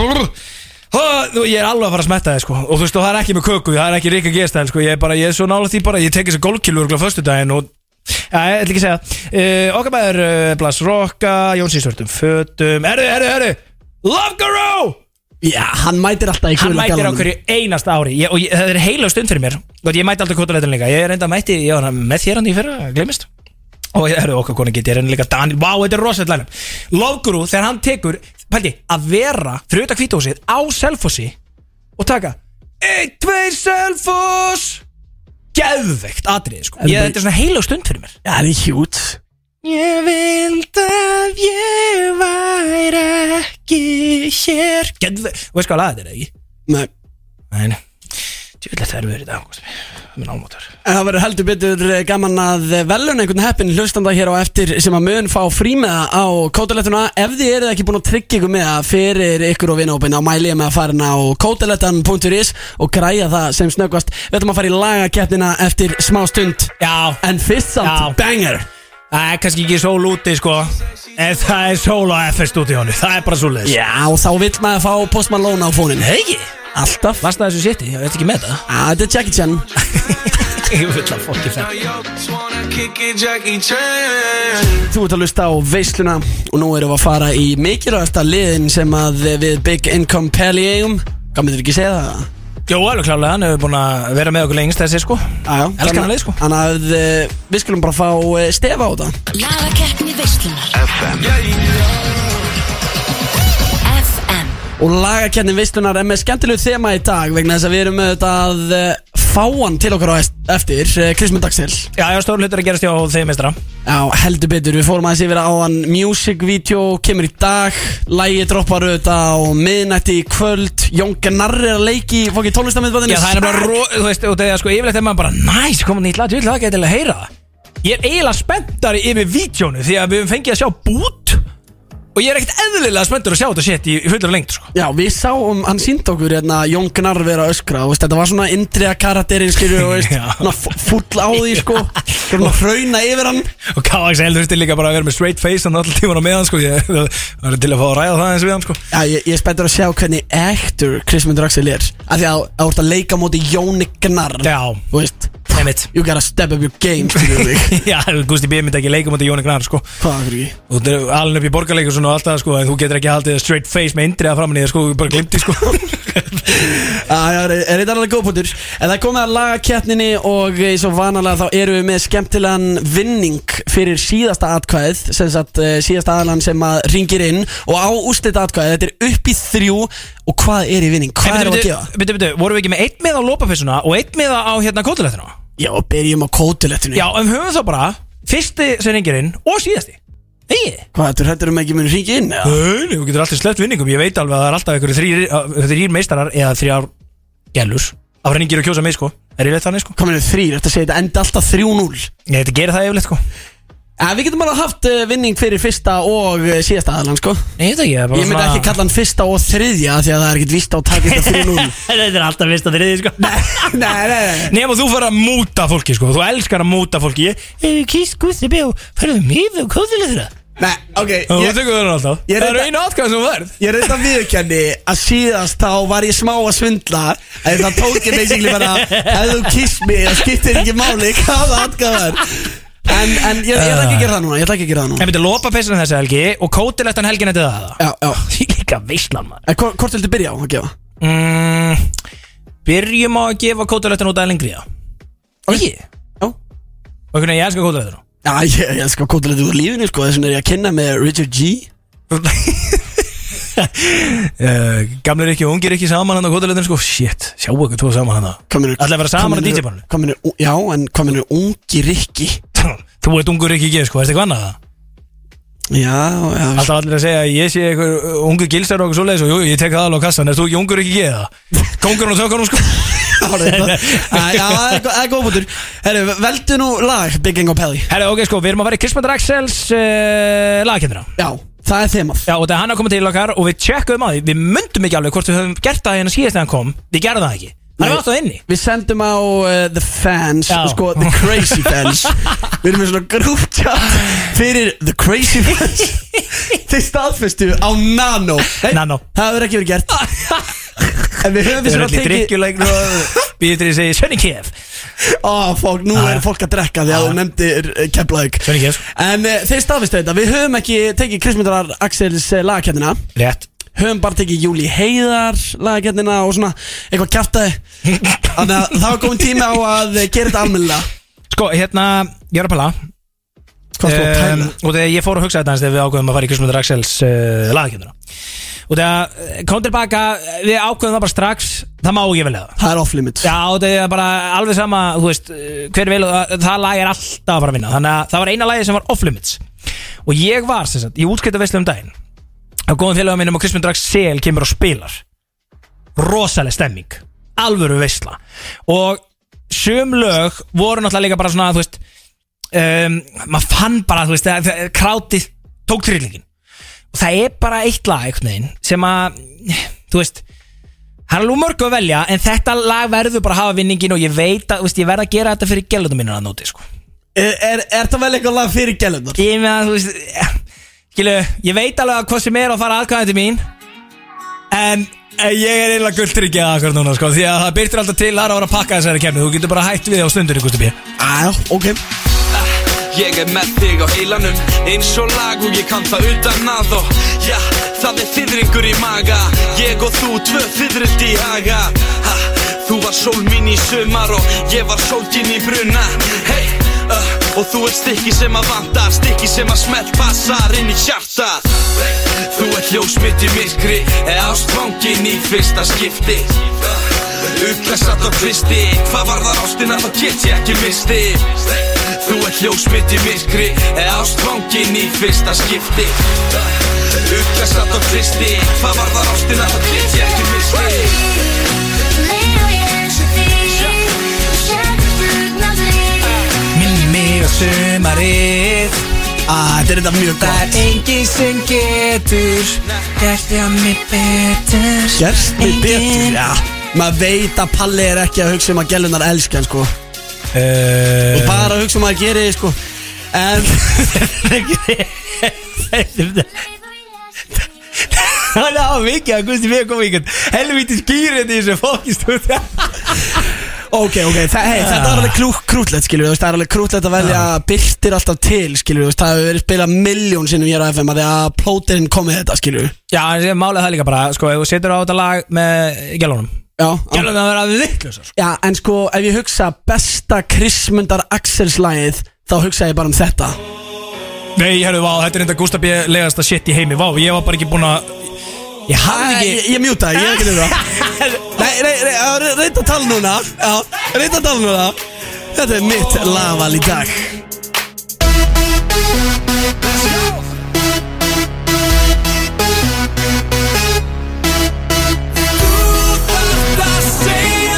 C: Hó, Þú, ég er alveg að fara að smetta þig sko Og þú veist, og það er ekki með köku, það er ekki ríka gestæl sko Ég er bara, ég er svo nála því bara Ég tek þessi gólkilu örgulega föstudaginn og Já, ég ætla ekki að segja uh, Okkar maður, uh, Blas Rokka, Jóns í svörtum fötum Erðu, erðu, erðu Love Guru!
B: Já, hann mætir alltaf í
C: Hann
B: gula
C: mætir á
B: gallanum.
C: hverju einasta ári ég, Og ég, það er heila stund fyrir mér Og ég mæti aldrei kvotaleitin líka Ég er enda mætti, já, hann með þér hann í fyrra, glemist Og ég er okkar koni getið, ég er enda líka Daniel Vá, þetta er rosalegt lænum Lofguru, þegar hann tekur, pældi, að vera Fyrir auðvitað hvítósið á Selfossi Og taka Eitt, tveir, Selfoss Geðveikt atriði, sko ég, Þetta er svona heila stund fyrir mér
B: Já, það er hjút
C: Ég vild að ég væri ekki hér Geðveikt, og veist hvað laga þetta er eða ekki?
B: Nei,
C: Nei, djúvillega það er verið í dag sko. Ágúst. Minn álmótur
B: En það verður heldur betur eh, gaman að velun einhvern heppin hlustanda hér á eftir sem að mun fá frímiða á kótalettuna ef þið eruð ekki búin að tryggja ykkur með það fyrir ykkur og vinópin á mæli ég með að fara inn á kótalettan.is og græja það sem snöggvast við ætlum að fara í lagakeppnina eftir smá stund
C: Já,
B: en fyrst samt
C: Já.
B: banger
C: það er kannski ekki sól úti sko En það er sól á FS stúdíónu Það er bara svo leiðis
B: Já, og þá vill maður fá postman lóna á fónin
C: Hei ekki
B: Alltaf
C: Varst það þessu sétti, ég veit ekki með það
B: Ah, Þetta er Jackie Chan
C: Ég vil að fólki það
B: Þú ert að lusta á veisluna og nú erum við að fara í mikilvægasta liðin sem að við Big Income Pally eigum Gammið þér ekki segja það?
C: Jó, alveg klálega, hann hefur búin að vera með okkur lengst þessi sko
B: Aja,
C: Elskar hann leið sko
B: Þannig að eh, við skulum bara fá eh, stefa á það
A: Lagakeppni veislunar FM
B: Og lagakennin veislunar er með skemmtilegu þema í dag vegna þess að við erum auðvitað að eh, fá hann til okkar á est- eftir eh, Krismund Dagsel
C: Já, já, stór hlutur að gerast hjá þeim meistra
B: Já, heldur betur, við fórum aðeins yfir á hann Music video, kemur í dag Lægi droppar auðvitað á miðnætti í kvöld Jón Gnar er að leiki í fókið tónlistamöðbæðinu
C: Já, það er bara, ro, þú veist, út af því að sko Yfirleitt er maður bara, næs, koma nýtt lag, djúvillega það gæti að heyra það Ég er eiginlega spenntari yfir vídjónu Því að við höfum fengið að sjá bút Og ég er ekkert eðlilega spenntur að sjá þetta sétt í, í fullur lengt, sko
B: Já, við sáum, hann sínd okkur hérna, Jón Gnar vera að öskra og veist, þetta var svona indriða karakterinn skilju og veist,
C: Já.
B: svona fu- full á því sko svona hrauna yfir hann
C: Og Kavax Eldur þurfti líka bara að vera með straight face Þannig alltaf tíman á meðan, sko Ég það var til að fá að ræða það eins við hann, sko
B: Já, ég, ég er spenntur að sjá hvernig ektur Krismundur Axel er af því að þú ert að leika á móti Jóni Gnar
C: Já.
B: Þú veist,
C: Einmitt.
B: you gotta step up your game skilju mig
C: Já, Gusti B. myndi ekki leikum á Jóni Gnar, sko
B: Hvað af hverju ekki?
C: Og þetta er alveg upp í borgarleikur svona og allt það, sko En þú getur ekki haldið straight face með indriða framan í þér, sko Bara glimti, sko
B: Já, Ah, já, er er þetta alveg góðbútur En það er komið að laga kettninni og eins og vanalega þá erum við með skemmtilegan vinning fyrir síðasta atkvæðið sem sagt eh, síðasta aðlan sem að ringir inn og á úslita atkvæðið þetta er upp í þrjú og hvað er í vinning? Hvað
C: En
B: er að
C: byrju,
B: gefa?
C: byrju, byrju, vorum við ekki með eitt miða á lopapissuna og eitt miða á hérna kótulegðina?
B: Já, byrjum á kótulettinu
C: Já, en höfum þá bara fyrsti sem ringir inn og síðasti Nei,
B: Hvað, þú hættur um ekki mun ringi inn? eða?
C: nei, þú getur alltaf sleppt vinningum Ég veit alveg að það er alltaf einhverju þrýr, þrýr meistarar eða þrjár gælus Afræningir og kjósa mig sko Er ég veit þannig sko
B: Komin við þrýr, þetta segir þetta enda alltaf 3-0
C: Ég þetta gerir það yfirleitt sko
B: En við getum alveg haft eh, vinning fyrir fyrsta og eh, síðasta aðlan sko
C: Nei, þetta ekki
B: Ég myndi ekki kalla hann fyrsta og þriðja af Því að það er ekkert víst á að taka þetta 3-0
C: Þetta er alltaf vist að þriði sko
B: Nei, nei, nei
C: Nefnum þú fyrir að múta fólki sko Þú elskar að múta fólki Ég "Eh, Ég kýst Guðni B og Færðu mjög og kóðileg þeirra
B: Nei, ok
C: Þú
B: Ég,
C: tekur það alltaf
B: Ég
C: Það eru
B: reynda-
C: einu atkvæð sem þú verð
B: ég reynda að viðurkenni að síðast þá var ég smá að svindla En það tók ég basically bara Ef þú kýst mig, það skiptir ekki máli Hvaða atgaðar En, en ég, ég ætla ekki að gera það núna Ég ætla ekki að gera það núna
C: En byrja lopa peysan þessi helgi Og kóðilegtan helgin eftir það
B: Já, já
C: Því líka veislan maður
B: En hvort, hvort viltu byrja á að gefa?
C: mm, Byrjum á að gefa kóðilegtan út að lengri það Ekki
B: Já
C: Og einhvern veginn ég elskar kóðilegtan
B: Já, ég, ég sko kótulegt úr lífinu sko Þess vegna er ég að kynna með Richard G
C: uh, Gamlir ekki og ungir ekki saman hann á kóðilegtan sko Shit, sjáu ykkur tvo saman hann
B: Komin
C: Ætlaði að vera saman á DJ-barnum?
B: Komin er, já, en komin er ungi Rikki
C: Þú ert ungur ekki ekki sko, veist eitthvað annað það?
B: Já, já
C: Alltaf allir að segja að ég sé einhver ungu gilsar og okkur svoleiðis og jú, jú, ég tek það alveg á kassan, er þú ekki ungur ekki geða? Kongurinn og tökunum sko
B: Árið þetta. Æ, Já, það er gó- það er góð bútur Herru, veldu nú lag Big Gang og Pelli
C: Herra, ok, sko, við erum að fara í Kristmann Axels uh, lagkendra
B: Já, það er þemað
C: Já, og það er hann að koma til okkar og við tjekkuðum að því Við myndum ekki alveg hvort við höfum gert það hérna síðast þegar hann kom Við gerðum það ekki, hann
B: Nei.
C: er alltaf inni
B: Við sendum á uh, The Fans
C: Já.
B: Sko, The Crazy Fans Við erum með svona grúptjátt Fyrir The Crazy Fans Þeir staðfestu á Nano Nei,
C: Nano.
B: Það hefur ekki verið gert En við höfum
C: Við erum
B: svona
C: allir
B: tekið
C: drikkjuleik og Býtri segi Svenni Kef
B: Ó, fólk, nú
C: Já, já.
B: er fólk að drekka
C: Ah.
B: því að þú nefndir Keflaug
C: Svenni Kef.
B: En uh, þeir staðfistu þetta Við höfum ekki tekið Kristmyndarar Axels uh, lagakennina
C: Rétt
B: höfum bara tekið Júli Heiðar lagakennina og svona eitthvað kjartaði þannig að það var komin tími á að gera þetta almennilega
C: Sko, hérna, ég er að pala
B: hvað stóð að
C: um,
B: tæla
C: og þegar ég fór að hugsa þetta hans þegar við ákveðum að fara í Kristmundur Axels uh, lagakjönduna og þegar eh, kom tilbaka eh, við ákveðum það bara strax það má ekki velja það
B: það er off limits
C: Já, og það er bara alveg sama, þú veist, eh, hver vil, það, það lag er alltaf að fara að vinna Þannig að það var eina lagið sem var off-limits Og ég var, sem sagt, ég útskipta veislu um daginn Á góðum félagum mínum og Kristmund Drax Sel kemur og spilar Rosaleg stemming, alvöru veisla Og sum lög voru náttúrulega líka bara svona, þú veist um, Maður fann bara, þú veist, að- að krátið tók trillingin Og það er bara eitt lag, einhvern veginn, sem að, þú veist Það er alveg úr mörgu að velja En þetta lag verður bara að hafa vinningin Og ég veit að, þú veist, ég verð að gera þetta fyrir gælutum mínir að nóti sko.
B: er, er, er það vel eitthvað lag fyrir gælunar
C: Ég með að, þú veist eh, Skilu, ég veit alveg að hvað sem er að fara aðkvæðandi mín En en ég er eiginlega guldryggja akkur núna sko, Því að það byrtir alltaf til aðra að vera að pakka þessari kemni Þú getur bara hætt við á stundinu, Gusti B
B: aðjá, ok
D: Ég er með þig á heilanum Eins og lag og ég kann það utan að og Já, það er þyðringur í maga Ég og þú tvö þyðrild í haga ha, Þú var sól mín í sumar og ég var sólgin í bruna Hey, uh, og þú ert stykki sem að vanda Stykki sem að smelt passar inn í hjartað Þú ert ljós mitt í myrkri Eða ástfangin í fyrsta skipti Uh, Upplæsat og kristi Hvað var það ástina þá get ég ekki misti Þú ert ljós mitt í myrkri Eða ástfangin í fyrsta skipti Upplæsat og kristi Hvað var það ástina þá get ég ekki misti
C: Minni mig á sumarið
B: ah, þetta er þetta mjög gott
C: enginn sem getur Gert ég að mig betur
B: gerst mig betur já maður veit að Palli er ekki að hugsa um að gælunar elska hann, sko og
C: Uh,
B: bara að hugsa um að gera þið sko en
C: Það er á mikið að Gusti Bíða kom í einhvern helviti skýrið í þessu fókistúð
B: Ok, ok, þa hey, þetta er alveg klú- krútlegt skilur við, þú veist, það er alveg krútlegt að velja byrtir alltaf til skilur við, þú veist, það hefur verið spilað miljón sinnum hér á FM að því að plóterinn komið þetta skilur við
C: Já, en ég mála það líka bara, sko, ef þú setur á þetta lag með gælunum
B: Já, á-
C: Gælunum að vera vittlösa, sko
B: já, en sko ef ég hugsa besta Krismundar Axels lagið þá hugsa ég bara um þetta
C: Nei, herru, vá, þetta er enda Gustaf B. legasta shit í heimi, vá, ég var bara ekki búin að Ég
B: Æ,
C: hafði
B: Ég,
C: ekki
B: ég mjúta, ég er ekki nefnir það Nei, nei, nei, já, re- reyndu að tala núna Já, reyndu að tala núna Þetta er mitt lagval í dag
D: Það segir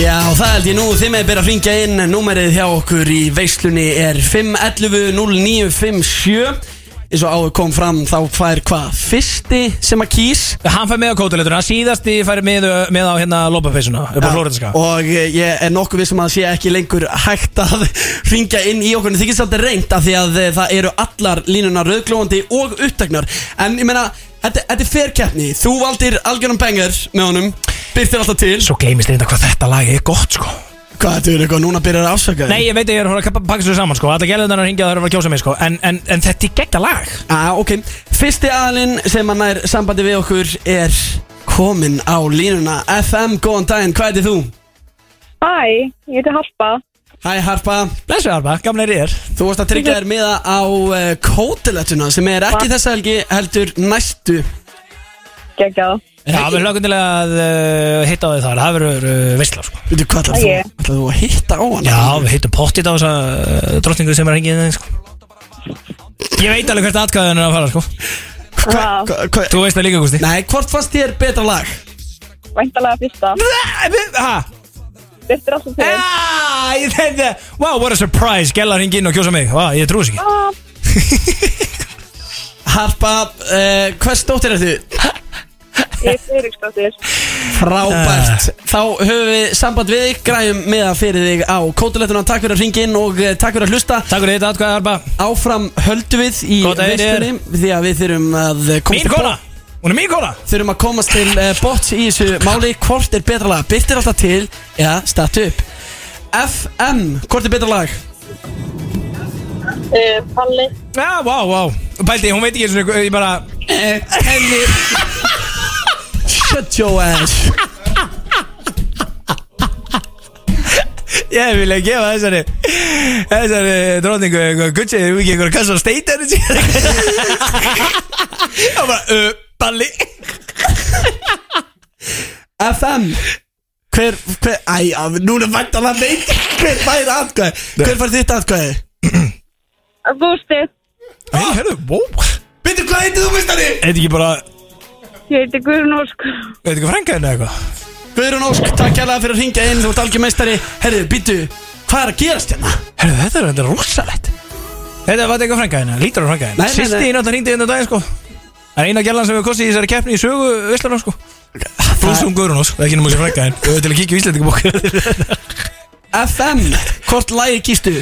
B: Já, það held ég nú, þið með byrja að ringja inn Númerið hjá okkur í veislunni er 511-0957 Eins og áður kom fram þá fær hvað fyrsti sem að kýs
C: Hann fær með á kótuleiturna, síðasti fær með, með á hérna lópapeysuna upp á Flórenska
B: Og eh, ég er nokkuð við sem að sé ekki lengur hægt að ringja inn í okkur En Þið getur svolítið reynd af því að eh, það eru allar línunar rauðglóðandi og uppteknar En ég meina, þetta, þetta er ferkeppni Þú valdir algjörum bengar með honum Byrtir alltaf til
C: Svo gleymist reynda hvað þetta lag er gott sko
B: Hvað þetta er eitthvað, núna byrjar að afsaka þig?
C: Nei, ég veit að ég er að horfa að pakka svo saman sko Alla gerðunar að hingja það er að fara að kjósa mig sko En, en, en þetta er gegta lag
B: Já, Ah, ok. Fyrsti aðalinn sem hann er sambandi við okkur er komin á línuna. FM, góðan daginn, hvað er þú?
E: Hæ, ég heiti Harpa.
B: Hæ Harpa,
C: Blessu Arba, gamlega er þér
B: þú varst að tryggja þér miða á uh, kótilettuna sem er ekki þessa helgi heldur næstu.
E: Geggjað.
C: Já, við hlökkum til að uh, hitta á þig þar Það verður uh, veistla sko
B: Veitu hvað ætlar
E: Það
B: þú?
E: ég.
B: Ætlar þú að hitta á hann?
C: Já, við hittum pottit á þessa uh, drottningu sem er að hingja þig sko Ég veit alveg hvert atkvæðan er að fara sko
B: Hva, hva, hva,
C: Þú veist það líka, Gusti
B: nei, hvort fannst þér betra lag?
E: Væntalega fyrsta.
C: Hæ?
E: Byrtir alltaf til.
C: Ah, ég þekki það Wow, what a surprise Gella ringi inn og kjósa mig Vá, ég trúi þess ekki
E: Ah,
B: Harpa, uh, hvers dóttir er þið?
E: Ég heiti Eiríksdóttir.
B: Frábært. Þá höfum við samband við þig, græjum miða fyrir þig á kótilettuna. Takk fyrir að ringa inn og uh, takk fyrir að hlusta.
C: Takk fyrir þetta atkvæði, Arba
B: Áfram höldum við í
C: Góð daginn,
B: veistunni Því að við þurfum að eh, komast
C: Mín
B: til,
C: kona Hún er mín kona
B: þurfum að komast til uh, bots í þessu máli Hvort er betra lag? Byrtir alltaf til eða statu upp FM, hvort er betra lag?
E: Uh, Palli.
C: Já, vá, vá Pældi, hún veit ekki eins og ég bara
B: Henni Shut your ass
C: Ég vilja gefa þessari Þessari drotningu eitthvað Gutsi, erum við ekki einhver kassa á state energy Og bara, uh, balli
B: FM Hver, hver, æ, af- núna vantan að veit Hver fær atkvæði? Hver fær þitt atkvæði?
E: Gústi.
C: Hei, herru, wow
B: Byrtir, hvað heitir þú mistari?
C: Eitthvað ekki bara,
E: Ég heiti Guðrún Ósk.
C: eitthvað ekki frænka henni eitthvað
B: Guðrún Ósk, takk kærlega fyrir að ringja inn Þú ert algjör meistari Herðu, býtu, hvað er að gerast hérna?
C: Herru, þetta er þetta rosalegt Þetta var eitthvað frænka henni, lítur á frænka henni
B: Nei, nei,
C: Sýsti
B: nei.
C: í náttúrulega hringdi hérna daginn sko Það er eina gerlan sem við kostið í þessari keppni í sögu Vistlarnar sko Brúsum Guðrún ás, ekki nema sér frænka henni Við höfum til að kíkja í Íslandingabók
B: FM, hvort lagi kýstu?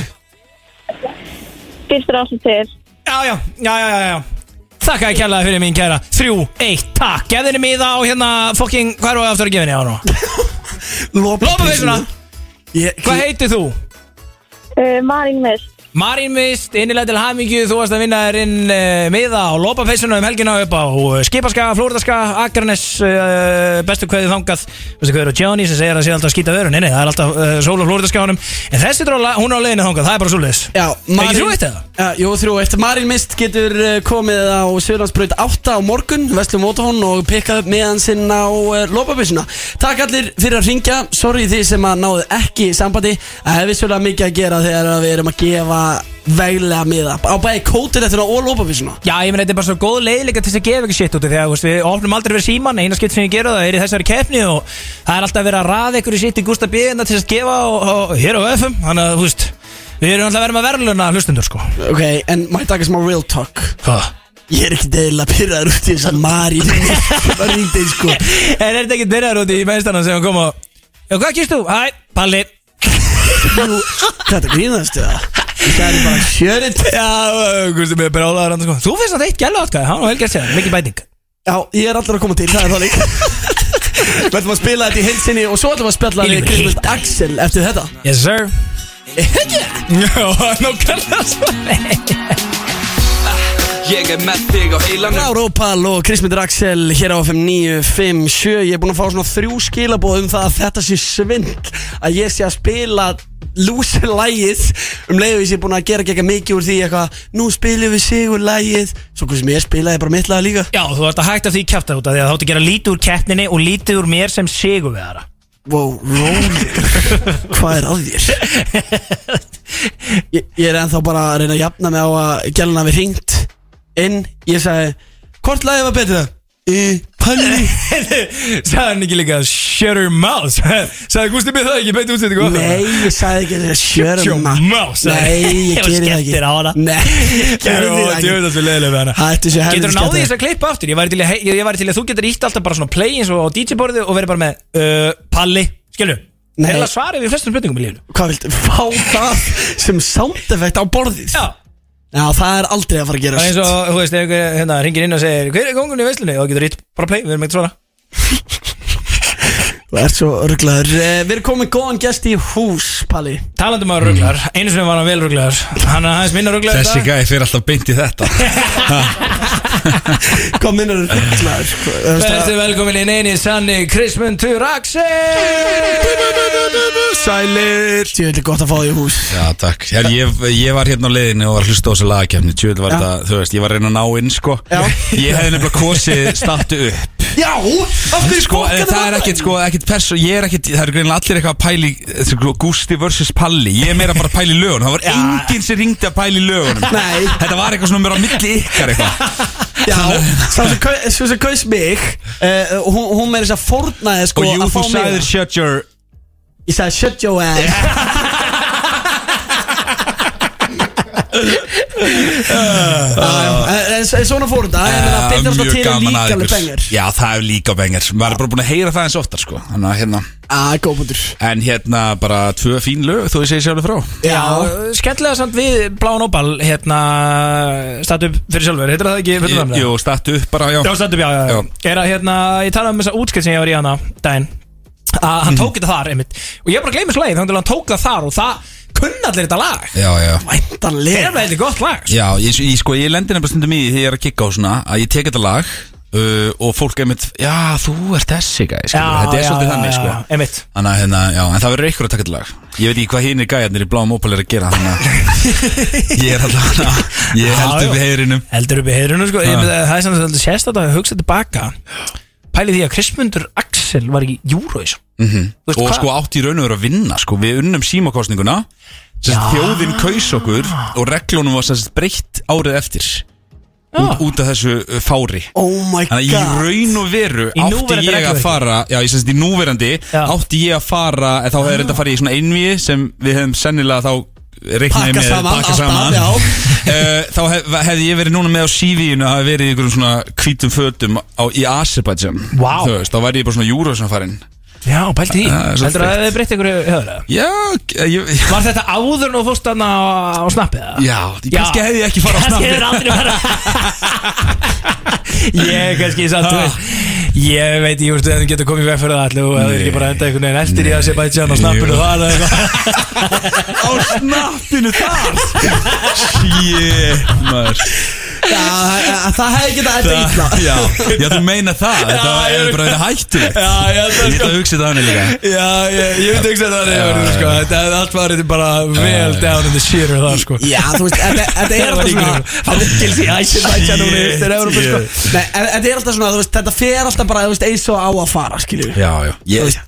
E: Byrtir alltaf til.
C: Já, já, já, já, já, já. Þakka ég kærlega fyrir mín kæra Þrjú, eitt, takk Gefðu henni miða á hérna fucking Hvað er það aftur að gefa henni á nú? Lópapeysuna Hvað
B: Hvað
C: heitir þú?
E: Uh, Marín Mist.
C: Marín Mist, innilega til hamingju Þú varst að vinna þér inn uh, miða á Lópapeysuna um helgina upp á eh, Skipaska, Flórdaska, Akranes uh, Bestu kveðið þangað Bestu kveðið á Johnny sem segir að sé alltaf að skýta vörun Nei, nei, það er alltaf uh, sól á Flórdaska honum En þessi dróla, hún er á leiðinu þangað, það er bara svoleiðis
B: Já,
C: Ekki þrjú eitt eða?
B: Já, jú, þrjú eitt Marín Mist getur eh, komið á Sjölandsbraut 8 á morgun Vestlum Votahón og pikkað upp meðan sinn á uh, lópabissuna Takk allir fyrir að ringja Sorry því sem að náðu ekki í sambandi Það hefur svolítið mikið að gera þegar að við erum að gefa veglega miða Á bæði kótið þetta og lópabissuna
C: Já, ég meina þetta er bara svo góð leið líka til þess að gefa ekki shit út af því að þú veist, við opnum aldrei verið síman eina skipt sem ég gera það er í þessari keppni og það er alltaf verið að raða ykkur í shit í Gústa Bíðina til þess að gefa og, og hér á FM þannig að þú veist við erum alltaf að vera með verðluna hlustundur sko
B: Ok, en maður taka smá real talk
C: Hvað?
B: Ég er ekki degilega pyrraður út í þess að Marín Mist var ringdið sko
C: En er þetta ekki byrjaður út í meðstana sem hann kom og Já, hvað kýrst þú? Hæ, Palli
B: Jú, Þetta grínast það Það er bara sjörið
C: Já, Gústa Bíðina brálaður hann sko Þú finnst þetta eitt gælu átkvæði, hann og Helgert sér, mikið bæting
B: Já, ég er allir að koma til, það er það líka Við ætlum að spila þetta í heilsinni og svo ætlum við að spjalla
C: Ég
B: við
C: vil
B: Kristmund
C: hitta þig.
B: Axel eftir þetta
C: Yes sir Já, nákvæmlega svo
D: Ég er með þig á heilanum
B: Rár Ópal og Kristmund Axel hér á FM 957 Ég er búin að fá svona þrjú skilaboð um það að þetta sé svind að ég sé að spila lúsir lægið um leiðu ég sé búin að gera ekki mikið úr því eitthvað nú spilum við sigur lægið svo hvað sem ég spilaði bara mitt lag líka
C: Já, þú varst að hægt af því kjæfta út af því að þá áttu að gera lítið úr keppninni og lítið úr mér sem sigur við þara
B: Wow, rólegur Hvað er að þér? Ég, ég er ennþá bara að reyna að jafna mig á að gælna við hringt inn Ég sagði, hvort lagið var betur það? Í pölli
C: Sagði hann ekki líka Shut your mouth Sagði Gústi byrð það ekki Beinti útsendingu
B: Nei, ég sagði ekki þetta
C: your
B: Sjörma
C: mouth, sagði
B: Nei,
C: ég.
B: ég
C: Ég var
B: geri það ekki
C: skelltir á hana.
B: Nei, ég geri
C: Jó,
B: það
C: djöfull
B: ekki
C: að við leiðilega við hana
B: Hættu sér helviti
C: Getur þú náðið
B: skemmtilegt.
C: þess að klippa aftur? Ég væri til, að- ég væri til að þú getur ítt alltaf bara svona play eins og á DJ-borðu og verið bara með uh, Palli, skilju
B: Nei.
C: Heila svarið við flestum spurningum í lífinu
B: Hvað viltu, fá það sem sound effect á borðið
C: Já,
B: Já, það er aldrei að fara að
C: það er eins
B: gera
C: og, þú veist, ef einhver hérna, ringir inn og segir Hver er kongun í veislunni? Og getur ítt bara play, við erum ekkert svona
B: Það er svo örglaður Við erum komin góðan gest í hús, Palli
C: Talandi maður ruglar, einu sinni var hann vel ruglar Hann er aðeins minna ruglar
H: Þessi gæði fyrir alltaf beint í þetta
B: Hvað minnur er örglaður?
C: Verður velkomin inn eini sanni Krismundur Axel
H: Sælir
B: Ég vil gott að fá því í hús
H: Já, takk Her, ég, ég var hérna á leiðinu og var að hlusta á þessu lagakefni Tjöld var
B: Já.
H: þetta, þú veist, ég var að reyna að ná inn, sko
B: Já.
H: Ég hefði nefnilega kosið stattu upp
B: Já, af hverju
H: Sko, en
B: fokkaðu
H: það er
B: það?
H: ekkit, sko, ekkit perso Ég er ekkit, það eru greinlega allir eitthvað að pæli sko, Gusti vs. Palli Ég er meira bara að pæli lögun Það var enginn sem ringdi að pæli lögunum
B: Nei.
H: Þetta var eitthvað svona mér á milli ykkar eitthvað
B: Já, svo sem kau- svo sem kaus mig uh, Hún, hún meira þess að fornaði sko
H: Og jú,
B: að fá
H: þú
B: mig.
H: sagðir shut your
B: Ég sagði shut your ass Ah, Já, já, En en svona fór þetta En það byrjar alltaf
H: Eh, mjög
B: til í
H: gaman að
B: líka alveg
H: ykkur.
B: bengar
H: Já, það er líka bengar Maður er bara búin að heyra það eins oftar sko Þannig að hérna
B: Já, góðbundur
H: En hérna bara tvö fín lög Þú ég segi sjálfur frá
B: Já,
C: Já, skemmtilega samt við Bláan Opal hérna, statu upp fyrir sjálfur, heitir það ekki fyrir
H: Ég-
C: framlega?
H: Jú, stattu upp bara, já
C: Já, statu upp, já, já, já. Er að hérna, ég talaði um þessa útskipt sem ég var í hana daginn, að
H: Mhm.
C: hann tók þetta þar einmitt, og ég bara gleymi svo leið, þannig að hann tók það þar og það kunnallir þetta lag
H: Já, já
C: Er
B: væntanlega
C: það eitthvað gott lag? sko.
H: Já, ég, ég, sko, ég lendir nefnilega stundum í því Þegar ég er að kikka á svona Að ég tek þetta lag uh, Og fólk er mitt Já, þú ert þessi gæ skilur. Þetta er svolítið þannig, sko
C: Einmitt
H: Þannig að, hérna, já, en það verður ykkur að taka þetta lag Ég veit ekki hvað hinir gæjarnir í bláum opal er að gera Þannig að ég er alltaf Ég held
C: Já,
H: upp
C: já.
H: í heyrinum
C: Heldur upp í heyrunu sko
H: Já.
C: Ég- Það er samt að þetta sést að þetta hugsa tilbaka Pæli því að Kristmundur Axel var ekki Júróis
H: og sko átt í raun og veru að vinna sko. við unnum símakostninguna sest, þjóðin kaus okkur og reglunum var sest, breytt árið eftir út, út af þessu uh, fári
B: Oh my
H: Þannig að í
B: god
H: raun og veru
C: Í
H: átti
C: núverandi
H: ég að
C: regluverki.
H: fara Já, ég semst í núverandi
C: Já.
H: Átti ég að fara en Þá hefði reynda að fara í svona einvíi Sem við hefðum sennilega þá Reiknaði
B: Pakka
H: með
B: saman,
H: pakka
B: allt
H: saman
B: af,
H: Eh, Þá hef, hefði ég verið núna með á CV-inu Að hafa verið í einhverjum svona hvítum fötum á, Í Azerbaijan
C: Vá.
H: Þú veist, Þá væri ég bara svona júrasnafarin
C: Já, pæli því
H: Það er
C: Heldur
H: svo
C: að
H: feitt.
C: það hefði breytt einhverju höfður
H: Já, ég,
C: Var þetta áður nú fórst hann á, á snappið? eða?
H: Já, kannski hefði ég ekki farið á
C: Kannski
H: snabbi
C: hefði aldrei farið Ég kannski satt, þú veist Ég veit, ég veist, það getur komið veg fyrir það allu og það er ekki bara enda einhvern veginn eftir í Azerbaijan á snappinu
H: Jú.
C: það eða eitthvað
H: Á snappinu þar Shit, maður
B: Já, eh, Það hefði getað þetta ítla
H: Það- Já, já, þú meina það Þetta
C: Já,
H: er
C: ég-
H: bara þetta hættulegt
C: Já,
H: Ég
C: já, það
H: ætla
C: sko
H: að hugsa þetta þannig líka
C: Já, ég, ég veit ekki að það er verið, sko Þetta hefði allt farið bara vel down in the sheer það, sko
B: Já, þú veist, þetta þetta er alltaf svona
C: Fangilsi Azerbaijan og við þeir eru sko
B: Nei, en þetta er alltaf svona, þú veist, þetta fer alltaf bara, þú veist, eins og á að fara, skilju
H: Já, já ég,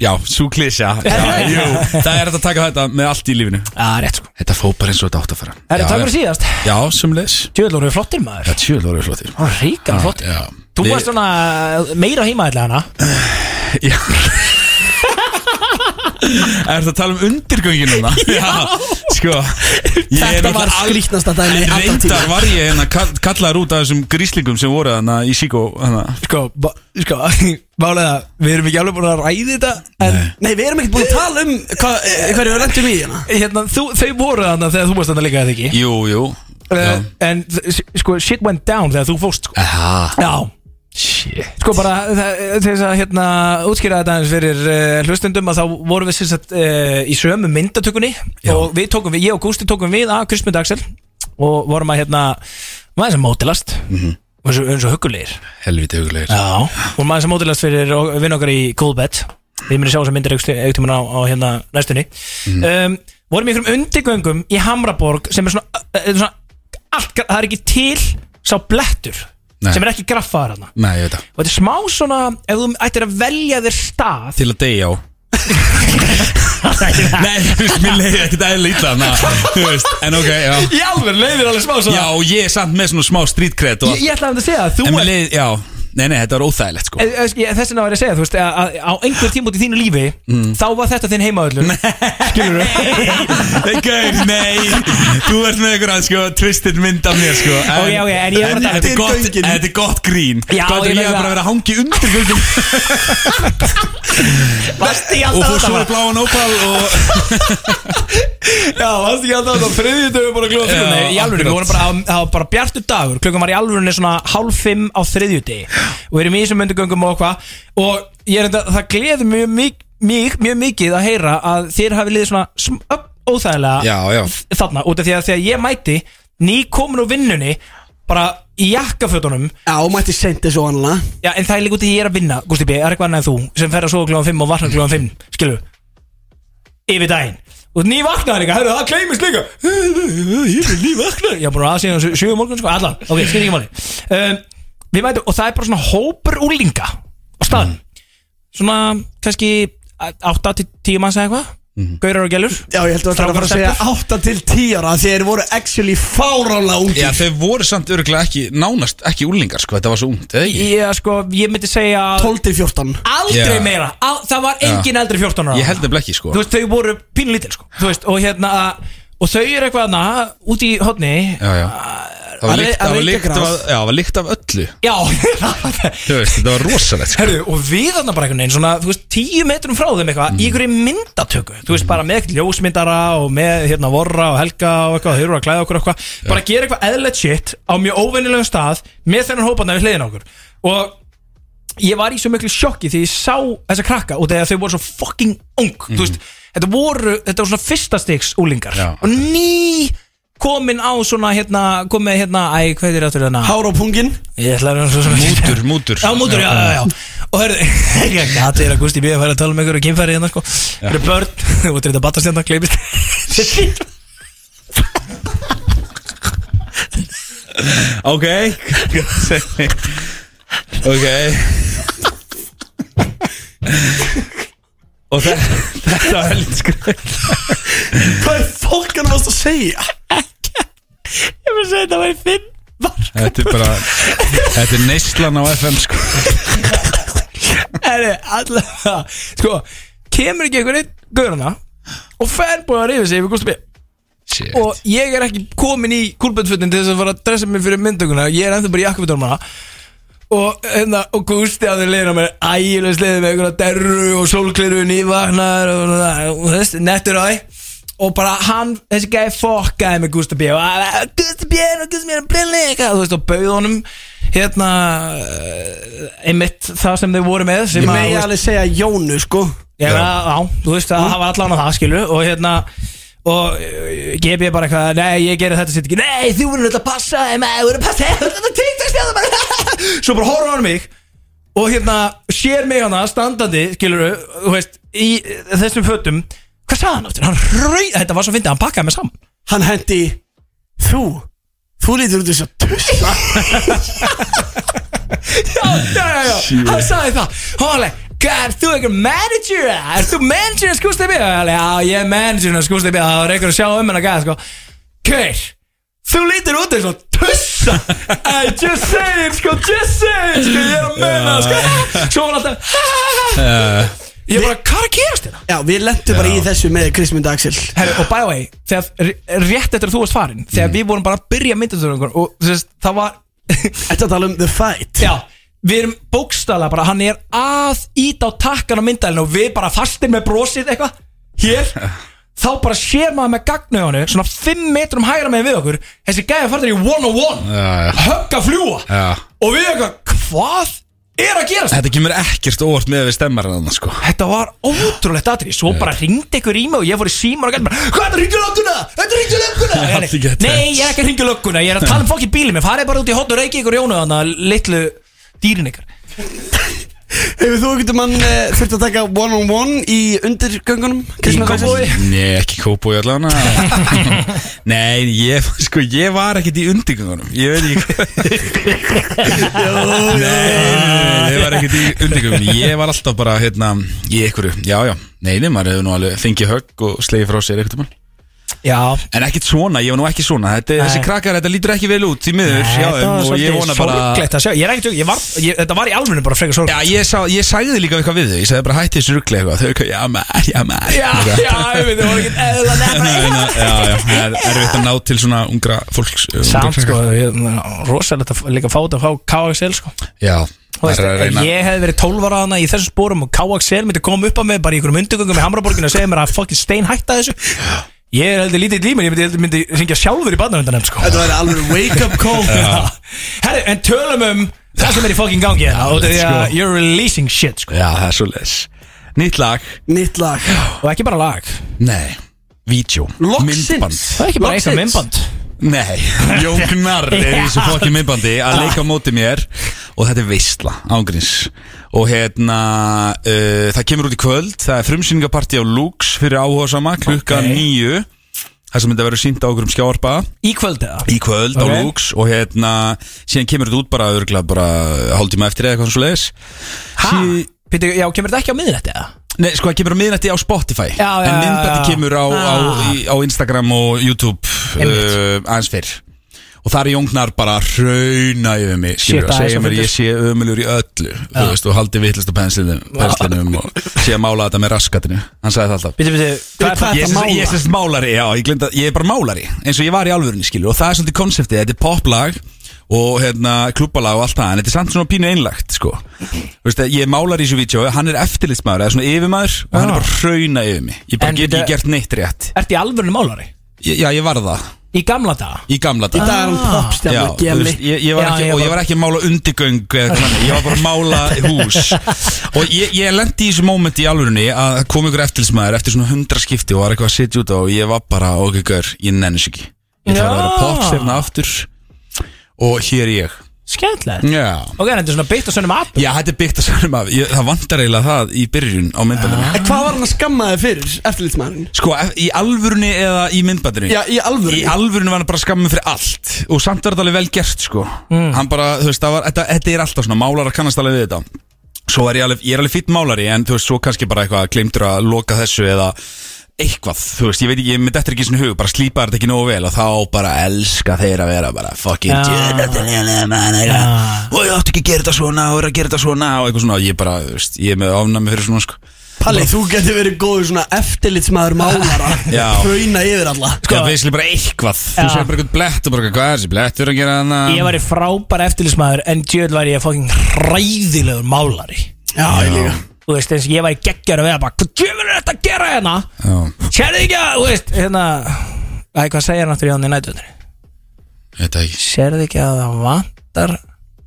H: Já, svo klísja Já, jú Það er hægt að taka þetta með allt í lífinu
C: Já, rétt, sko
H: Þetta fóð bara eins og þetta átt að fara
C: Það
H: Já,
C: er takk fyrir
H: já.
C: síðast
H: Já, sumleis
C: Tjöðl voru flottir maður
H: Já, tjöl voru flottir
C: Það var ríkan flottir
H: Já
C: Þú
H: Við-
C: varst svona eh, meira heimaðilega hana
H: Já Er þetta að tala um undirgöngin núna? Já Sko ég er
B: Þetta var
H: náttúrulega al-
B: skrýtnasta dæmi alltaf tíma
H: Reyndar var ég hérna kall- kallaður út af þessum gríslingum sem voru hérna í Síkó hérna.
C: Sko, ba- sko Málega, við erum ekki alveg búin að ræði þetta En
B: Nei, við erum ekkert búin að tala um hva, hverju við rendum í hérna
C: hérna, þú, þau voru þarna þegar þú varst þarna líka eða ekki
H: Jú, jú
C: uh,
H: Já.
C: En s- sko, shit went down þegar þú fóst sko.
H: Aha,
C: Já,
H: shit
C: sko bara það- til þess að hérna útskýra þetta eins fyrir uh, hlustendum að þá vorum við sem sagt uh, í sömu myndatökunni
H: Já.
C: og við tókum við, ég og Gústi tókum við að Kristmund Axel og vorum að hérna maður sem mótilast
H: Mhm.
C: og eins og, eins og hugulegir
H: Helviti huglegir
C: Já, og maður sem mótilast fyrir ok- vinn okkar í Coolbet Við munum sjá þess að myndir auktum á, á hérna næstunni
H: Mhm.
C: um, Vorum í einhverjum undirgöngum í Hamraborg sem er svona, er svona allt, gra- það er ekki til sá blettur
H: Nei.
C: sem er ekki graffaðar hana
H: Nei, ég veit það
C: og þetta er smá svona, ef þú ættir að velja þér stað
H: Til að deyja á Nei, þú veist, mér leiði ekkert eðla illa na, Þú veist, en ok, já
C: Í alveg leiðir alveg smá
H: Já, ég er samt með svona smá street cred og
C: Ég, ég ætlaði að segja að þú
H: En
C: er
H: mér leiði, já Nei, nei, þetta var óþægilegt sko
C: Eh, eh, ég- Þess vegna var ég að segja, þú veist, að, að á einhver tíma út í þínu lífi
H: Mm.
C: Þá var þetta þinn heimaöllur Skilur
H: Nei, gauð, nei Þú ert með einhverja, sko, twisted mynd af mér, sko en,
C: Ok, ok, en ég var að tala um-
H: þetta er gott, en Þetta er gott grín
C: Já, ég
H: Gott er ég
C: veit
H: að bara
C: það.
H: vera að hangi undir gulvin
C: Varst ég
H: Og
C: alltaf að
H: fór svo
C: tala
H: bláan ópal og
C: Já, varst ég alltaf að tala Þriðið dögum bara klúða
H: Já,
C: Nei, í alvöru, við
H: akkurat.
C: vorum bara, það var- það var bara bjartur dagur Klukkan var í alvörunni svona hálf fimm á þriðju degi Og við erum í þessum myndugöngum og hvað Og ég er þetta, það gleður mjög mikið Mjög, mjög mikið að heyra að þér hafi liðið svona sm- öpp- óþægilega
H: Já, já.
C: þarna út af því að þegar ég mæti ný komin úr vinnunni bara í jakkafötunum
B: Já, mætti seint þessu annala
C: Já, en það er líka út í ég er að vinna, Gusti B, það er eitthvað annað en þú sem fer að sofa kljóðan 5 og vakna kljóðan 5, skilu Yfir daginn Og ný vaknaðar eitthvað, herru, það kleimist líka Ég er ný vaknaðar Já, bara aðsíðan 7 morgun, sko, allan Ok, skil ekki máli um, Við mætum, og það er bara svona hópur úlinga á staðan Svona, kannski 8-10 manns eða eitthvað Gaurar og gælur
B: Mhm. Já, ég held að það var að fara að segja 8 til 10 ára af Því þeir voru actually fáránlega ungi
H: Já, þau voru samt örgulega ekki, nánast ekki úlingar, sko Þetta var svo ungt, eða ekki?
C: Ég, sko, ég myndi segja
B: 12 til 14
C: Aldrei
H: Já.
C: meira, Al, það var engin eldri 14 ára
H: Ég held nefnilega ekki, sko
C: þú veist, þau voru pínlítil sko. Þú veist, og hérna og þau eru eitthvað hana, út í hodni
H: Já, já Það var
B: Að
H: lykt-
B: rey- að
H: það var
B: reykja
H: lykt
B: gras.
H: af- já, það var lykt af öllu
C: já
H: Þú veist, þetta var rosalegt, sko
C: Herru, og við þarna bara einhvern veginn svona, þú veist, tíu metrum frá þeim eitthvað
H: Mm.
C: í einhverju myndatöku, þú veist, bara með ljósmyndara og með, hérna, vorra og helga og eitthvað, þau eru að klæða okkur eitthvað bara gera eitthvað eðlert shit á mjög óvennilegum stað með þennan hópana við hliðin á okkur og ég var í svo miklu sjokki því ég sá þessa krakka og þegar þau voru svo fucking ung þú veist, þetta voru, þetta voru svona fyrsta stiks úlingar
H: Mhm. Já.
C: og ný komin á svona hérna komið hérna, æ, hvað er þetta hérna
B: Hár á pungin
C: ég ætla að vera svona
H: Mútur, mútur
C: Já, mútur, já, já, já Og hörðu, ég gæti þér að Gusti B. að færa að tala um einhverju kynfæri hérna, sko Það eru börn, þú ert hérna þetta batastjönda, kleipist
H: Ok Ok Og þe- þetta var heldur skröð
B: Hvað er fólkan varst að segja?
C: Ég finnst að þetta væri fimm mark
H: Þetta er bara Þetta er neyslan á FM sko
C: Herru, allavega, sko Kemur ekki einhvern einn gaurana Og fennbúðar yfir sig yfir Gusti B.
H: Shit.
C: Og ég er ekki komin í kúlböndfötin til þess að fara að dressa mig fyrir myndökuna Ég er ennþá bara í jakkafötunum hana Og, hérna, og Gústi að þeir leiðina mér ægilega sliðið með einhverja derru og sólkliru nývagnar og, og, og þessi nettur á því og bara hann, þessi gæði fokkaði með Gústi B og hann, Gústi B og Gústi B er brilli eitthvað, þú veist, og bauð honum hérna eh, einmitt það sem þau voru með sem
B: Ég
C: að, þú
B: megi
C: veist,
B: alveg segja Jónu, sko
C: Já, já, þú veist að það var allan á það skilu og hérna og uh, gef ég bara eitthvað, nei ég gerir þetta sitt ekki nei þú verður náttúrulega að passa þeim, eh, þú verður að passa þeim, þetta er tíktast eða bara svo bara horfður hann á mig og hérna sér mig hana standandi skilur þú veist, í eh, þessum fötum hvað sagði hann áttur, hann rauð þetta var svo fyndið, hann pakkaði mig saman
B: Hann hendi Þú Þú lítur út þess að tussa
C: já, já, já, já, hann sagði það og hann var alveg, hvað, ert þú einhver manager eða? ert þú manager að skústa í bíða og ég alveg, já, ég er manager að skústa í bíða það var einhver að sjá um hennar gæða, sko Kveir, þú lítir út eins og tussa I just saying, sko, just saying sko, ég er að menna, sko svo var hann alltaf, "Ha, ha, ha." ég bara, hvað er að gerast þetta?
B: Já, við lentum bara í þessu með Krismund Axel
C: Herri, og by the way, þegar, rétt eftir að þú varst farin þegar við vorum bara að byrja myndatöðunum og þú veist, það var
B: Þetta tala um The Fight
C: Já, við erum bókstala bara Hann er að íta á takkan á myndælinu Og við bara fastir með brosið eitthvað Hér Þá bara sér maður með gagnauðanu Svona 5 metrum hægra með við okkur Þessi gæði farðir í 101
H: Já, já.
C: Högg að fljúa
H: Já.
C: Og við eitthvað, hvað er að gerast?
H: Þetta kemur ekkert óvart með að við stemmar hann sko
C: Þetta var ótrúlegt aðrið Svo bara ringdi ykkur í mig og ég fór í síma og gæti bara Hvað er að ringja lögguna? Þetta er ringja lögguna
H: Allir
C: Ég
H: geta
C: alveg, Nei, ég er ekki að ringja lögguna Ég er að tala um fokkin bílið mér Farið bara út í hotn og reykja ykkur jónu Þannig að litlu dýrin ykkar
B: Hefur þú einhvern mann uh, þurft að taka one on one í undirgöngunum? Krismund Axel?
H: Nei, ekki kópói allan Nei, ég, sko, ég var ekkert í undirgöngunum Ég veit ekki hvað Jó, nei, nei, nei, Ég var ekkert í undirgöngunum Ég var alltaf bara, hérna, í einhverju Já, já, nei, nei, maður hefur nú alveg fengið högg og slegið frá sér eitthvað
C: Já,
H: En ekkert svona, ég var nú ekki svona þetta,
C: Nei.
H: Þessi krakkar, þetta lítur ekki vel út í miður
C: Nei,
H: hjá
C: þetta
H: þeim
C: var
H: og ég vona
C: svolítið
H: bara
C: sorglegt að sjá ég er ekkert, ég var, ég, Þetta var í alvöru bara frekar
H: Já,
C: sorglegt
H: ég, sá, ég sagði líka eitthvað við þau Ég sagði bara hætti þessu ruggli eitthvað Þau eitthvað, já maður, já maður Eitthvað.
C: ég veit, það var ekkert eðla
H: Þannig að reyna- Já, já, það er erfitt að ná til svona ungra fólks uh, ungra
C: Samt
H: krakka.
C: sko, ég, rosalegt að f- líka fá þetta frá KXL sko
H: Já,
C: Þú
H: það
C: veist,
H: er að
C: ef
H: reyna
C: Ég hef verið 12 ára hana í þessum spórum og KXL myndi koma upp að mig bara í einhverjum undugöngum í Hamraborginu og segja mér að fucking stein hætta þessu Ég er heldur lítið límur, ég myndi, heldur- myndi ringja sjálfur í barnavöndanum sko
B: Þetta var alveg wake up call
C: Herri, en tölum um það sem er í fucking gangi hérna og því að you're releasing shit sko
H: Já, það er svo les Nýtt lag
B: Nýtt lag
C: og ekki bara lag
H: Nei, vídeo
B: Loksins.
C: Það er ekki bara
B: Loksins.
C: eitthvað minnband
H: Nei, Jóknar er í þessu fokkin myndbandi að leika á móti mér og þetta er veistla, ángríns og hérna uh, það kemur út í kvöld, það er frumsýningapartí á Lux fyrir áhóðsama klukkan
C: Ok.
H: níu það sem þetta verður sínt á okkur um skjárpa
C: Í kvöld eða?
H: í kvöld
C: Ok.
H: á Lux og hérna síðan kemur þetta út bara örgla bara hálftíma eftir eða eitthvað svo leiðis
C: Hæ? Pítur, já, kemur þetta ekki á miðnætti eða?
H: Nei, sko það kemur á miðnætti á Spotify
C: Já, já,
H: en
C: já,
H: myndbætti
C: já.
H: kemur á, á,
C: Ah.
H: í, á Instagram og YouTube uh,
C: Einmitt.
H: aðeins fyrr og þar er jónknar bara að rauna yfir mig skilur,
C: Shit,
H: að
C: það er
H: segja
C: svo
H: mér
C: fyndið.
H: ég sé ömulur í öllu þú veist, og haldi vittlust á penslinum, penslinum og sé að mála þetta með raskatinu hann sagði það alltaf
C: Pítur, pítur, hvað er
B: Hvað
C: það?
H: Ég er sem- ég er sérst málari, já, ég glemt að ég er bara málari eins og ég var í alvörunni, skilur, og það er svolítið konseptið, þetta er poplag og hérna klubbalag og allt það, en þetta er samt svona pínu einlagt, sko Þú veist að ég er málari í þessu vídeo, hann er eftirlitsmaður eða svona yfirmaður og hann er bara að hrauna yfir mig ég bara
C: En
H: get
C: þetta-
H: ekki gert neitt rétt
C: Ertu í alvörinu málari?
H: ég, Já, ég var það,
C: Í gamla daga?
H: í gamla
B: Í dag er hann
H: Já,
B: popstjarnar
H: þú
B: gemmi
H: veist, ég, ég var
C: Já,
H: ekki,
C: ég
H: og
C: bara-
H: ég var ekki að mála undirgöng eða eitthvað þannig, ég var bara að mála hús og ég, ég lendi í þessu móment í alvörunni að það kom ykkur eftirlismæður eftir svona hundra skipti og var eitthvað að sitja út á og ég var bara, ok, gör, ég nenni sig ekki ég þarf að vera
C: Já.
H: popstefna aftur og hér er ég
C: Skemmtilegt
H: Já,
C: Ok, en þetta er svona beitt og sönnum app
H: já þetta er byggt að sannum af ég, það vantar eiginlega það í byrjun á myndbandinu
B: En hvað var hann að skamma þig fyrir, eftirlitsmaðurinn?
H: Sko, ef- í alvörunni eða í myndbandinu
B: Já, í alvöru
H: Í alvörinu var hann bara skammið fyrir allt Og samt var þetta alveg vel gert sko
C: Mm.
H: Hann bara, þú veist, það var, þetta, þetta er alltaf svona Málara kannast alveg við þetta Svo er ég alveg, ég er alveg fýtt málari En þú veist, svo kannski bara eitthvað Gleimtur að loka þessu eða eitthvað Þú veist, ég veit ekki, ég myndi eftir ekki svona hug Bara slípa þetta ekki nógu vel Og þá bara elska þeir að vera bara Fucking
C: Já.
H: Jonathan Jonathan, man,
C: Já.
H: eitthvað. Og ég átti ekki að gera þetta svona Og er að gera þetta svona Og eitthvað svona, ég bara, þú veist, ég er með ofnæmi fyrir svona sko
B: Palli, þú getur verið góður svona eftirlitsmaður málara
H: Já.
B: Hrauna yfir alla
H: Sko, það veist bara eitthvað Þú
C: Já.
H: segir bara eitthvað blett og bara eitthvað, hvað er þessi blettur að gera hana
C: Ég var í frábær eftirlismæður en djöðl var ég fucking hræðilegur málari
B: Já, ég líka
C: Þú veist, eins og ég var í geggjar að vera bara Hvað djöðl er þetta að gera hérna?
H: Já.
C: Sérðu ekki að, þú veist, hérna Æ, hvað segir hann aftur í hann í nættunni?
H: Þetta ekki
C: Sérðu ekki að það vantar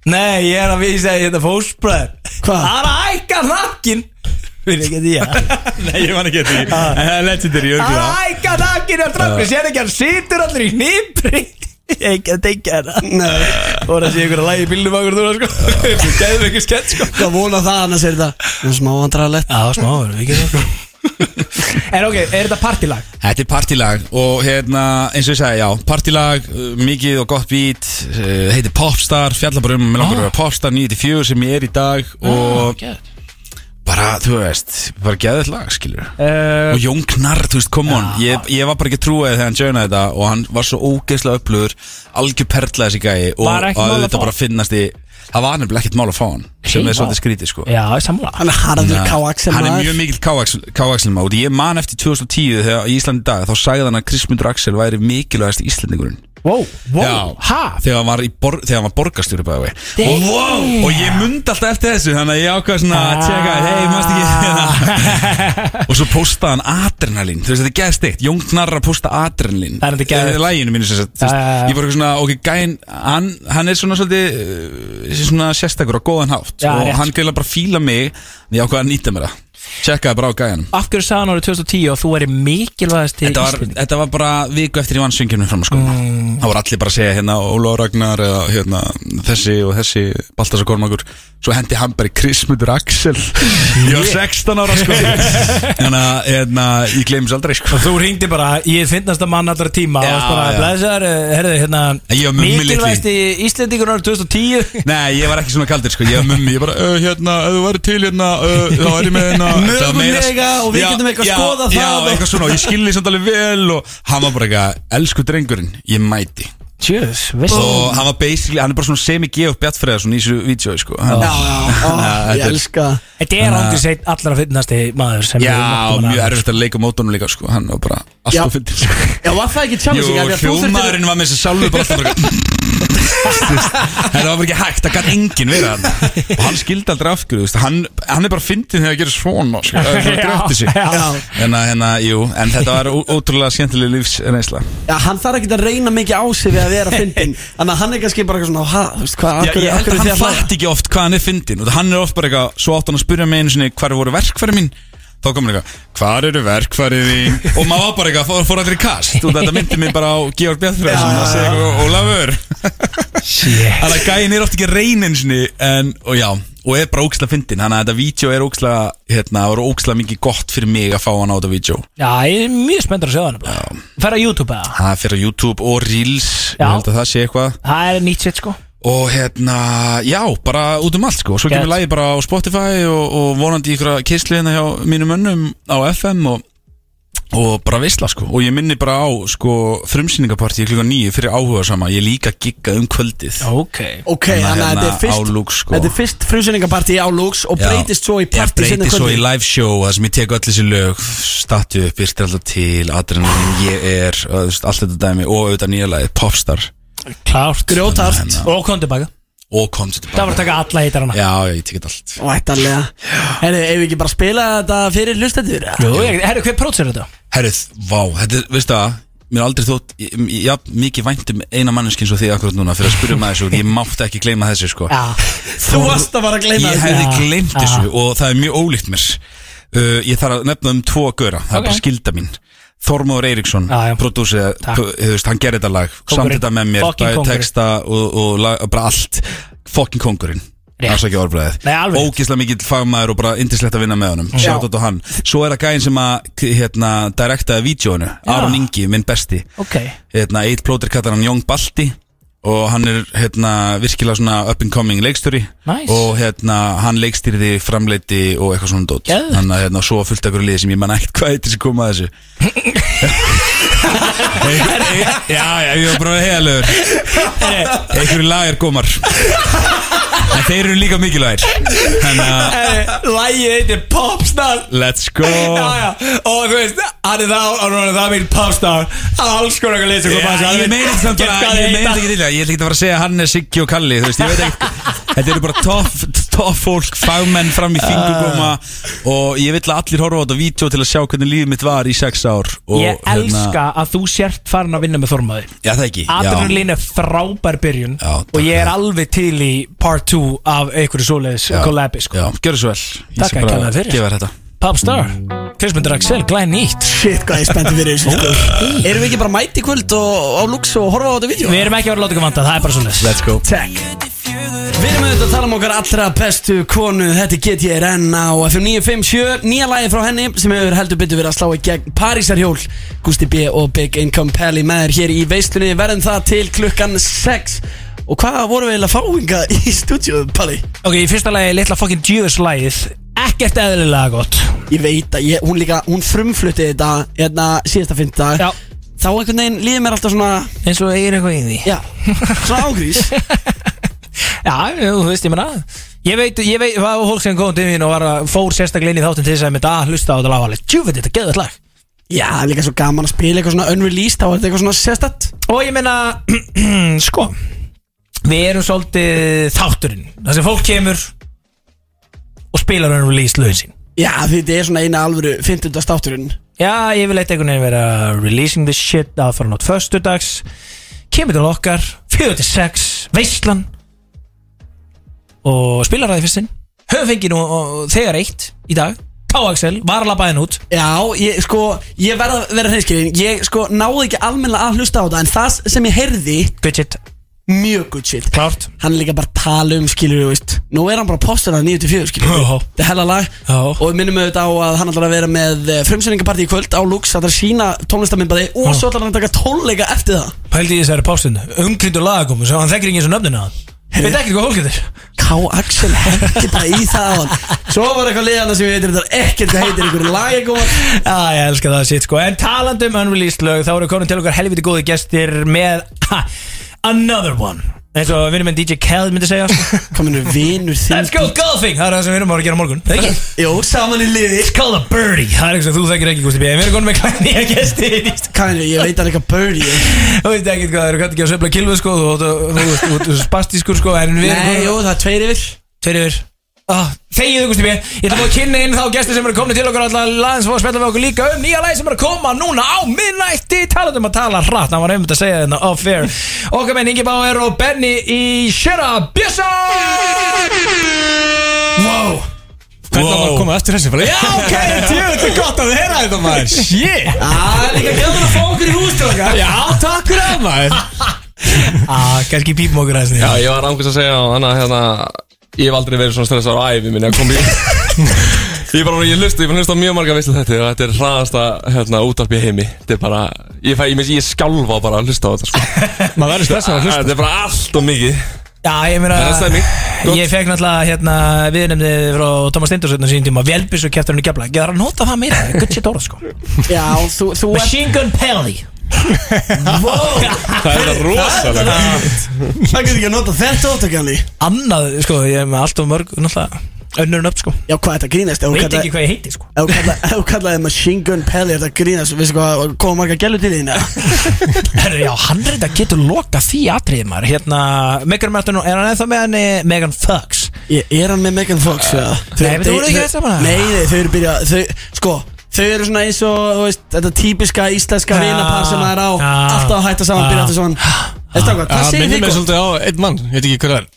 C: Nei, ég er að vísa í þetta fósbræður
B: Hvað?
C: Það er að hækka nakkin Fyrir ekki því að
H: Nei, ég man ekki eftir því En það er legendary, ég örgulega
C: Æka nakkin af drafni, sér ekki hann situr allir í hnipri Ég er ekki að tengja þetta
B: Nei,
C: Og það sé ykkur að lægi bílnum okkur þú sko Við gæðum ekki skett sko
B: hvað vona það annars er þetta Smá vandrarlegt
C: Já, smá, við getum sko En ok, er þetta partilag?
H: Þetta er partylag og hérna, eins og ég segi, já, partylag, uh, mikið og gott beat, uh, heitir Popstar, fjallar bara um, mér langar að vera Popstar 94 sem ég er í dag og bara, þú veist, bara geðið lag, skilur.
C: Uh,
H: Og Jón Knarr, þú veist, come on, ég, ég var bara ekki að trúa því þegar hann sjönaði þetta og hann var svo ógeðslega upplöður, algjör perla þessi gæi og
C: Var ekkert mál að
H: og
C: fá
H: auðvitað
C: hann?
H: bara finnast í, það var nefnilega ekkert mál að fá hann, sem
C: Hey,
H: er svolítið
C: vá.
H: skrítið, sko.
C: já, sammála
B: Hann er harður káaxel
H: Hann er mjög mikill K-Axel mátt Ég man eftir 2010 þegar í Íslandi í dag Þá sagði hann að Krismundur Axel væri mikilvægast Íslandingurinn
C: Wow,
H: Já.
C: wow, ha?
H: Þegar hann var, í bor þegar hann var borgarstjóri bæði og,
C: Damn.
H: wow, og ég mundi alltaf eftir þessu Þannig að ég ákvað svona
C: Ah,
H: að tjekka Hei, mannst ekki Og svo postaði hann adrenalín Þú veist, þetta er geðsteikt Jón Knarr að posta adrenalín
C: Það er þetta geðveikt.
H: Eh, Læginu mínu sem sagt
C: Já,
H: þú veist,
C: já, já.
H: Ég var eitthvað svona, ok, gæn Hann, hann er svona svolítið eh, Svona sérstakur og góðan hátt
C: Já,
H: Og
C: rétt.
H: hann gæla bara að fíla mig En ég ákvað að nýta mér það Tjekkaði bara á gæjanum
C: Af hverju sagði hann árið 2010 og þú er mikilvægast til
H: Þetta var, þetta var bara viku eftir ég vann syngjumni fram að sko
C: Mm.
H: Það voru allir bara að segja hérna Óla Ragnar eða hérna þessi og þessi Baltasar Kormakur svo hendi hann bara í Krismundur Axel ég var 16 ára sko þannig að hérna, ég gleymis aldrei sko
C: Þú ringdi bara, ég finnast að mann allra tíma
H: Já,
C: og varst bara
H: já.
C: blæsar, herðu, hérna
H: Ég var mummi litli.
C: Mikilvægst í Íslendingunar 2010
H: Nei, ég var ekki svona kaldir sko, ég var mummi Ég bara, uh, hérna, ef þú væri til hérna uh, Þá er ég með hérna
C: Mögulega,
H: Það var
C: og við getum eitthvað
H: já,
C: skoðað
H: Já,
C: það og-
H: eitthvað svona, og ég skilði samt alveg vel Og hann var bara eitthvað, elsku drengurinn Ég mæti
C: Tjöðs,
H: Og hann var basically, hann er bara svona semi-geof bjartfræða Svona í þessu vídeo, sko
B: Já,
H: hann,
B: já, ó,
H: Já,
B: ég
H: þetta er-
B: elska það.
C: Þetta er aldrei seitt allra finnasti maður sem
H: Já,
C: við
H: og
C: máttum að
H: mjög
C: ræða.
H: erfitt að leika mótunum líka, sko Hann var bara
B: Já.
H: alltaf fyndið sko.
B: Já, var það ekki
H: Jú,
B: challenging? Af því að þú þurftir-
H: hljómaðurinn var með þessi sjálfur bara alltaf bara Það var bara ekki hægt, það gæti enginn verið hann Og hann skildi aldrei af hverju, þú veist Hann, hann er bara fyndin þegar að gera svona sko, Það er bara grætti sig
C: Já, já.
H: En, að, hérna, jú, en þetta var ó- ótrúlega skemmtileg lífsreynsla
B: Já, hann þarf ekki að reyna mikið á sig við að vera fyndin Þannig að hann er kannski bara eitthvað svona ha, Þú veist hvað, af
H: Já,
B: hverju-
H: ég
B: af
H: held
B: hverju þið
H: að hann
B: að hlæja?
H: fatt ekki oft hvað hann er fyndin og hann er oft bara eitthvað, svo átt hann að spyrja mig einu sinni hvar voru verkfæri mín þá kom hann eitthvað, hvar eru verkfæri þín og maður var bara eitthvað, fór, fór allir í kast og þetta myndi mig bara á Georg Bjartfræðarsson að segja eitthvað, Ólafur
C: Shit
H: Þannig að gæin er ofta ekki reyn eins og en, og já, og er bara óksla fyndin þannig að þetta vídeo er óksla hérna, var óksla mikið gott fyrir mig að fá hann á þetta vídeo
C: Já, ég er mjög spenntur að sjá hann Færa YouTube eða
H: það fyrir á YouTube og Reels
C: Já.
H: ég held að það sé eitthvað
C: Það er nýtt sitt sko
H: og hérna, já, bara út um allt sko, svo kemur
C: Gett.
H: lagi bara á Spotify og, og vonandi í ykkur kysli hérna hjá mínum önnum á FM og og bara veistla sko og ég minni bara á sko frumsýningapartíi klukkan nýju fyrir áhuga sama ég er líka giggað um kvöldið
C: Ok
B: Ok, þannig að þetta er
H: hérna
B: fyrst
H: á Lux, sko.
B: Þetta er fyrst frumsynningapartí á Lux Og
H: Já.
B: breytist svo í
H: Ég
B: partí sinni
H: breytist svo í
B: kvöldi
H: live show Það sem ég tek öll þessi lög Statu upp, byrst alltaf til Adrenalin, ég er og þú veist, Allt þetta dæmi og auðvitað nýja lagið Popstar
C: Klárt
B: Grjótart
C: Og kom tilbaka
H: Og kom til
C: Það var að taka alla heitar hana
H: Já, já, ég tek þetta allt
B: Vættanlega Herri, ef við ekki bara spila þetta fyrir hlustendur eða?
C: Jú, ég- herru, hver próts er þetta?
H: Herrið, vá, þetta er, veistu það Mér er aldrei þótt, ég- ég- já, mikið væntum eina manneskinn svo þig akkurat núna fyrir að spyrja maður þessu Ég mátti ekki gleyma þessu, sko
C: Já
B: Þú varst að fara að gleyma
H: Ég
B: þetta
H: hefði
C: Já,
H: gleymt
C: já.
H: þessu og það er mjög ólíkt mér uh, Ég þarf að nefna um tvo gauðra
C: Ok.
H: Það er bara skilda mín Þormóður Eiríksson,
C: Já, já.
H: prodúsið
C: Takk.
H: veist, Hann gerði þetta lag, samt
C: Kóngurinn.
H: þetta með mér
C: Fucking
H: bæði
C: kóngurinn.
H: Texta og, og lag, bara allt Fokkin kongurinn
C: Rétt.
H: Afsakið orðbræðið
C: Nei, alveg rétt.
H: Ógislega mikill fagmaður og bara indislegt að vinna með honum Sjátt á hann Svo er það gæðin sem að k- hérna, direktaði vídjónu Aron Ingi, minn besti
C: Ok
H: hérna, eitt plóter kallar hann Jón Balti og hann er hérna, virkilega svona up and coming leikstjóri
C: Nice.
H: og hérna, hann leikstýrði framleiti og eitthvað svona dót
C: Geðveikt.
H: þannig að hérna, svo fullt ekkur liði sem ég man ekkert hvað eitthvað sem kom að þessu Já, já, ég var bara heiðalögur einhverju lagar gómar en þeir eru líka mikilvægir þannig að
C: Lægið heitir Popstar
H: let's go
C: já Og þú veist, hann er þá Og hann er það mikil popstar Alls konar eitthvað leysa
H: Já, ég meina þetta samt bara, ég meina þetta ekki til það Ég ætla ekki að fara að segja Hannes, Siggi og Kalli Þú veist, ég veit ekki Þetta eru bara toff tof fólk, fagmenn fram í fingurgóma Og ég vill að allir horfa á þetta vídeo til að sjá hvernig lífið mitt var í sex ár og, hérna-
C: Ég elska að þú sért farin að vinna með Þormaður
H: Já, það ekki já.
C: Adrenalin er frábær byrjun
H: Já, takk
C: Og ég er
H: fyrir.
C: alveg til í part 2 Af einhverju svoleiðis
H: Já.
C: kollabi
H: Já,
C: sko.
H: gjör þessu vel Ég
C: Takk
H: skal
C: að
H: bara
C: kærlega fyrir.
H: Gefa þér þetta
C: Popstar, Kristmundur Axel, glæn nýtt
B: Shit, hvað ég spenndi fyrir þessu sko. Erum við ekki bara mæti í kvöld og á Lux og horfa á þetta vídeo?
C: Við erum ekki að vera að láta ykkur vanda, það er bara svoleiðis
H: Let's go
B: Tech Við erum auðvitað að tala um okkar allra bestu konu Þetta er GTRN á FM 957 Nýja lagi frá henni sem hefur heldur betur verið að slá í gegn Parísarhjól Gusti B og Big Income Pally með þér hér í veislunni Verðum það til klukkan 6 Og hvað vorum við eiginlega fáinga í stúdíu, Palli?
C: Ok, í fyrsta lagi litla fucking djöðus lagið Ekkert eðlilega gott
B: Ég veit að ég, hún líka, hún frumflutti þetta Hérna síðasta fynda
C: Já.
B: Þá einhvern veginn líður mér alltaf svona
C: Eins og eigir eitthvað í því
B: Já, svona ágrís
C: Já, þú veist, ég menna Ég veit, ég veit, það var fólk sem kom til mín og var að fór sérstaklega inn í þáttinn til þess að mynda að hlusta á þetta lagalega Djúfið þetta, geðvægt lag
B: Já, líka svo gaman að spila eitthvað svona unreleased Þá er þetta eitthvað svona sérstætt
C: Og ég meina, sko Við erum svolítið þátturinn Það sem fólk kemur Og spilar hann release lögin sín
B: Já, því þetta er svona eina alvöru 50. státturinn
C: Já, ég vil eitthvað einhvern veginn vera Releasing this shit aðfara nátt Föstudags Kemur til okkar 4-6 Veistlan Og spilar það í fyrstinn Höfum fengið nú og, þegar eitt í dag Páaxel, var að labba henn út
B: Já, ég sko, ég verð að vera hreinskilin Ég sko náði ekki almennilega að hlusta á þetta En það sem ég heyrði
C: Good shit
B: mjög good shit
C: Klárt
B: hann er líka bara að tala um skilur veist. nú er hann bara að posta það 94 skilur
C: Já.
B: þetta er hella lag
C: Já.
B: og við minnum auðvitað á að hann ætlar að vera með frumsynningaparti í kvöld á Lux það er að sína tónlistamindbæði og svo ætlar hann að taka tónleika eftir það
C: Pældi í þessari pásin Umgrindur lagakomu Svo hann þekkir ekki eins og nöfnina á hann Veit ekki hvað fólk getur
B: K. Axel hendi bara í það á hann svo var eitthvað liðana sem við heitir þetta er ekkert að heitir einhverju lagegóðar
C: Já, ég elska það shit sko En talandi um unreleased lög Þá eru konum til okkar helviti góði gestir Með ha, Another one eins og vinnum en DJ Khaled myndi segja sko.
B: kominu vinur þinn
C: Let's go golfing Það er það sem við erum að fara að gera á morgun Það er ekki
B: Jó, saman í liði
C: It's called a birdie Það er eitthvað sem þú þekkir ekki Gusti B En við erum konum með klænýja gesti
B: Kæri, ég veit hann eitthvað birdie
C: Þú veit ekki hvað Það eru kannski ekki að söfla kilvu sko Þú- þú- Þú þú- þú- þú- spastískur sko En við erum
B: Nei,
C: komin-
B: jú, það er tveir yfir
C: Tveir yfir ah, Þegiðu Gusti B Ég ætla bara að kynna inn þá gesti sem eru komin til okkar Alla laðins og spjalla við okkur líka um nýja læg sem er að koma núna á minnætti Talandum að tala hratt Það var einmitt að segja þetta off air Okkar menn Ingi Báer og Benny í Shira Bjössa Wow
I: Hvernig wow. var að koma eftir þessi bara
C: Já, ok, djöfull,
I: þetta er gott að heyra þetta maður Shit
B: Það er líka gæður að fá okkur í hústjóka
I: Já, takk fyrir það maður
C: Ah, kannski pípum okkur aðeins
H: Já, ég var ángast að segja á hana hérna Ég hef aldrei verið svona stressað á æfi minni að koma í Ég er bara, ég hlusta, ég er búin að hlusta á mjög marga veislu þetta og þetta er hraðasta hérna, útarpi heimi Þetta er bara, ég fæ, ég minnst, ég skjálfa bara að hlusta á þetta sko.
I: Maður verður stressað að hlusta
H: Þetta er bara allt og mikið
C: Já, ég meina
H: Það er stemming. Gott.
C: Ég fekk náttúrulega hérna viðnefnið frá Thomas Stindursson sín tíma Velbis og kæftur hann í kefla Ég þarf að nota það meira, good shit orð sko
B: Já, þú, þú ert
C: Machine Gun Pelly
H: Það er þetta rosalega
B: Það getur ekki að nota þetta óttakjali
C: Annað, sko, ég er með allt og mörg náttúrulega önnur en upp sko
B: Já, hvað þetta grínast? Ef þú
C: Veit
B: kallar-
C: ekki hvað ég heiti sko
B: ef þú kallar- ef þú kallaði Machine Gun Pelli Þetta grínast, veistu hvað, koma marga gælu til þín eða?
C: Herru, já, hann reynda getur loka því atriðið maður Hérna, Megan Martin, er hann eða með henni Megan Fox?
B: Ég- Er hann með Megan Fox? eða? Þau-
C: Nei, men þú voru ekki
B: þau-
C: að saman að-
B: Nei, nei, þau eru byrjað þau- Sko, þau eru svona eins og þú veist, Þetta típiska íslenska
C: Ja,
B: vinapar sem maður á
C: ja,
B: Alltaf að hætta saman,
C: ja.
B: byrja alltaf saman Veist það hvað, hvað segir þið gott?
I: svolítið á einn mann, ég veit ekki hver það er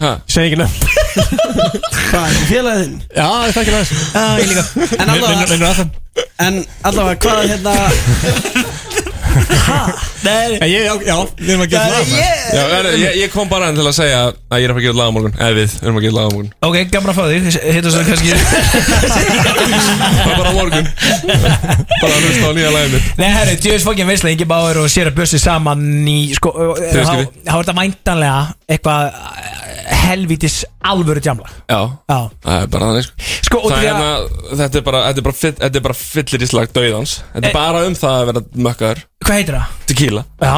H: Ha?
I: Segð ekki nefn
B: Hvað, félagið þinn?
I: Já, það Ah, er ekki næst
C: Já, ég líka
B: En allavega,
I: Vinnur að það
B: en allavega, hvað hérna
C: Nei,
I: En ég, já, já, við erum að gera það maður
H: Já, er, ég, ég kom bara til að segja að ég er að fara að gera laga morgun Eða við, erum að gera laga morgun
C: ok, gamla fá því, hittu svo kannski
H: Það er bara á morgun Bara að hlusta á nýja lagið mitt
C: Nei, herru, djöfis fokkin veislega, Ingi Báður og Sera Bjössi saman í, sko, þá
H: Þau
C: þá
H: skilji.
C: er þetta væntanlega eitthvað eh, helvítis alvöru djamla.
H: Já,
C: Já.
H: það er bara þannig sko
C: Sko, og
H: Það
C: því
H: er
C: að,
H: hérna, þetta er bara, þetta er bara, fyll- þetta er bara fyllir í slag döiðans Þetta
C: Eh.
H: er bara um það að vera mökkaður
C: hvað heitir það?
H: Tequila
C: Já.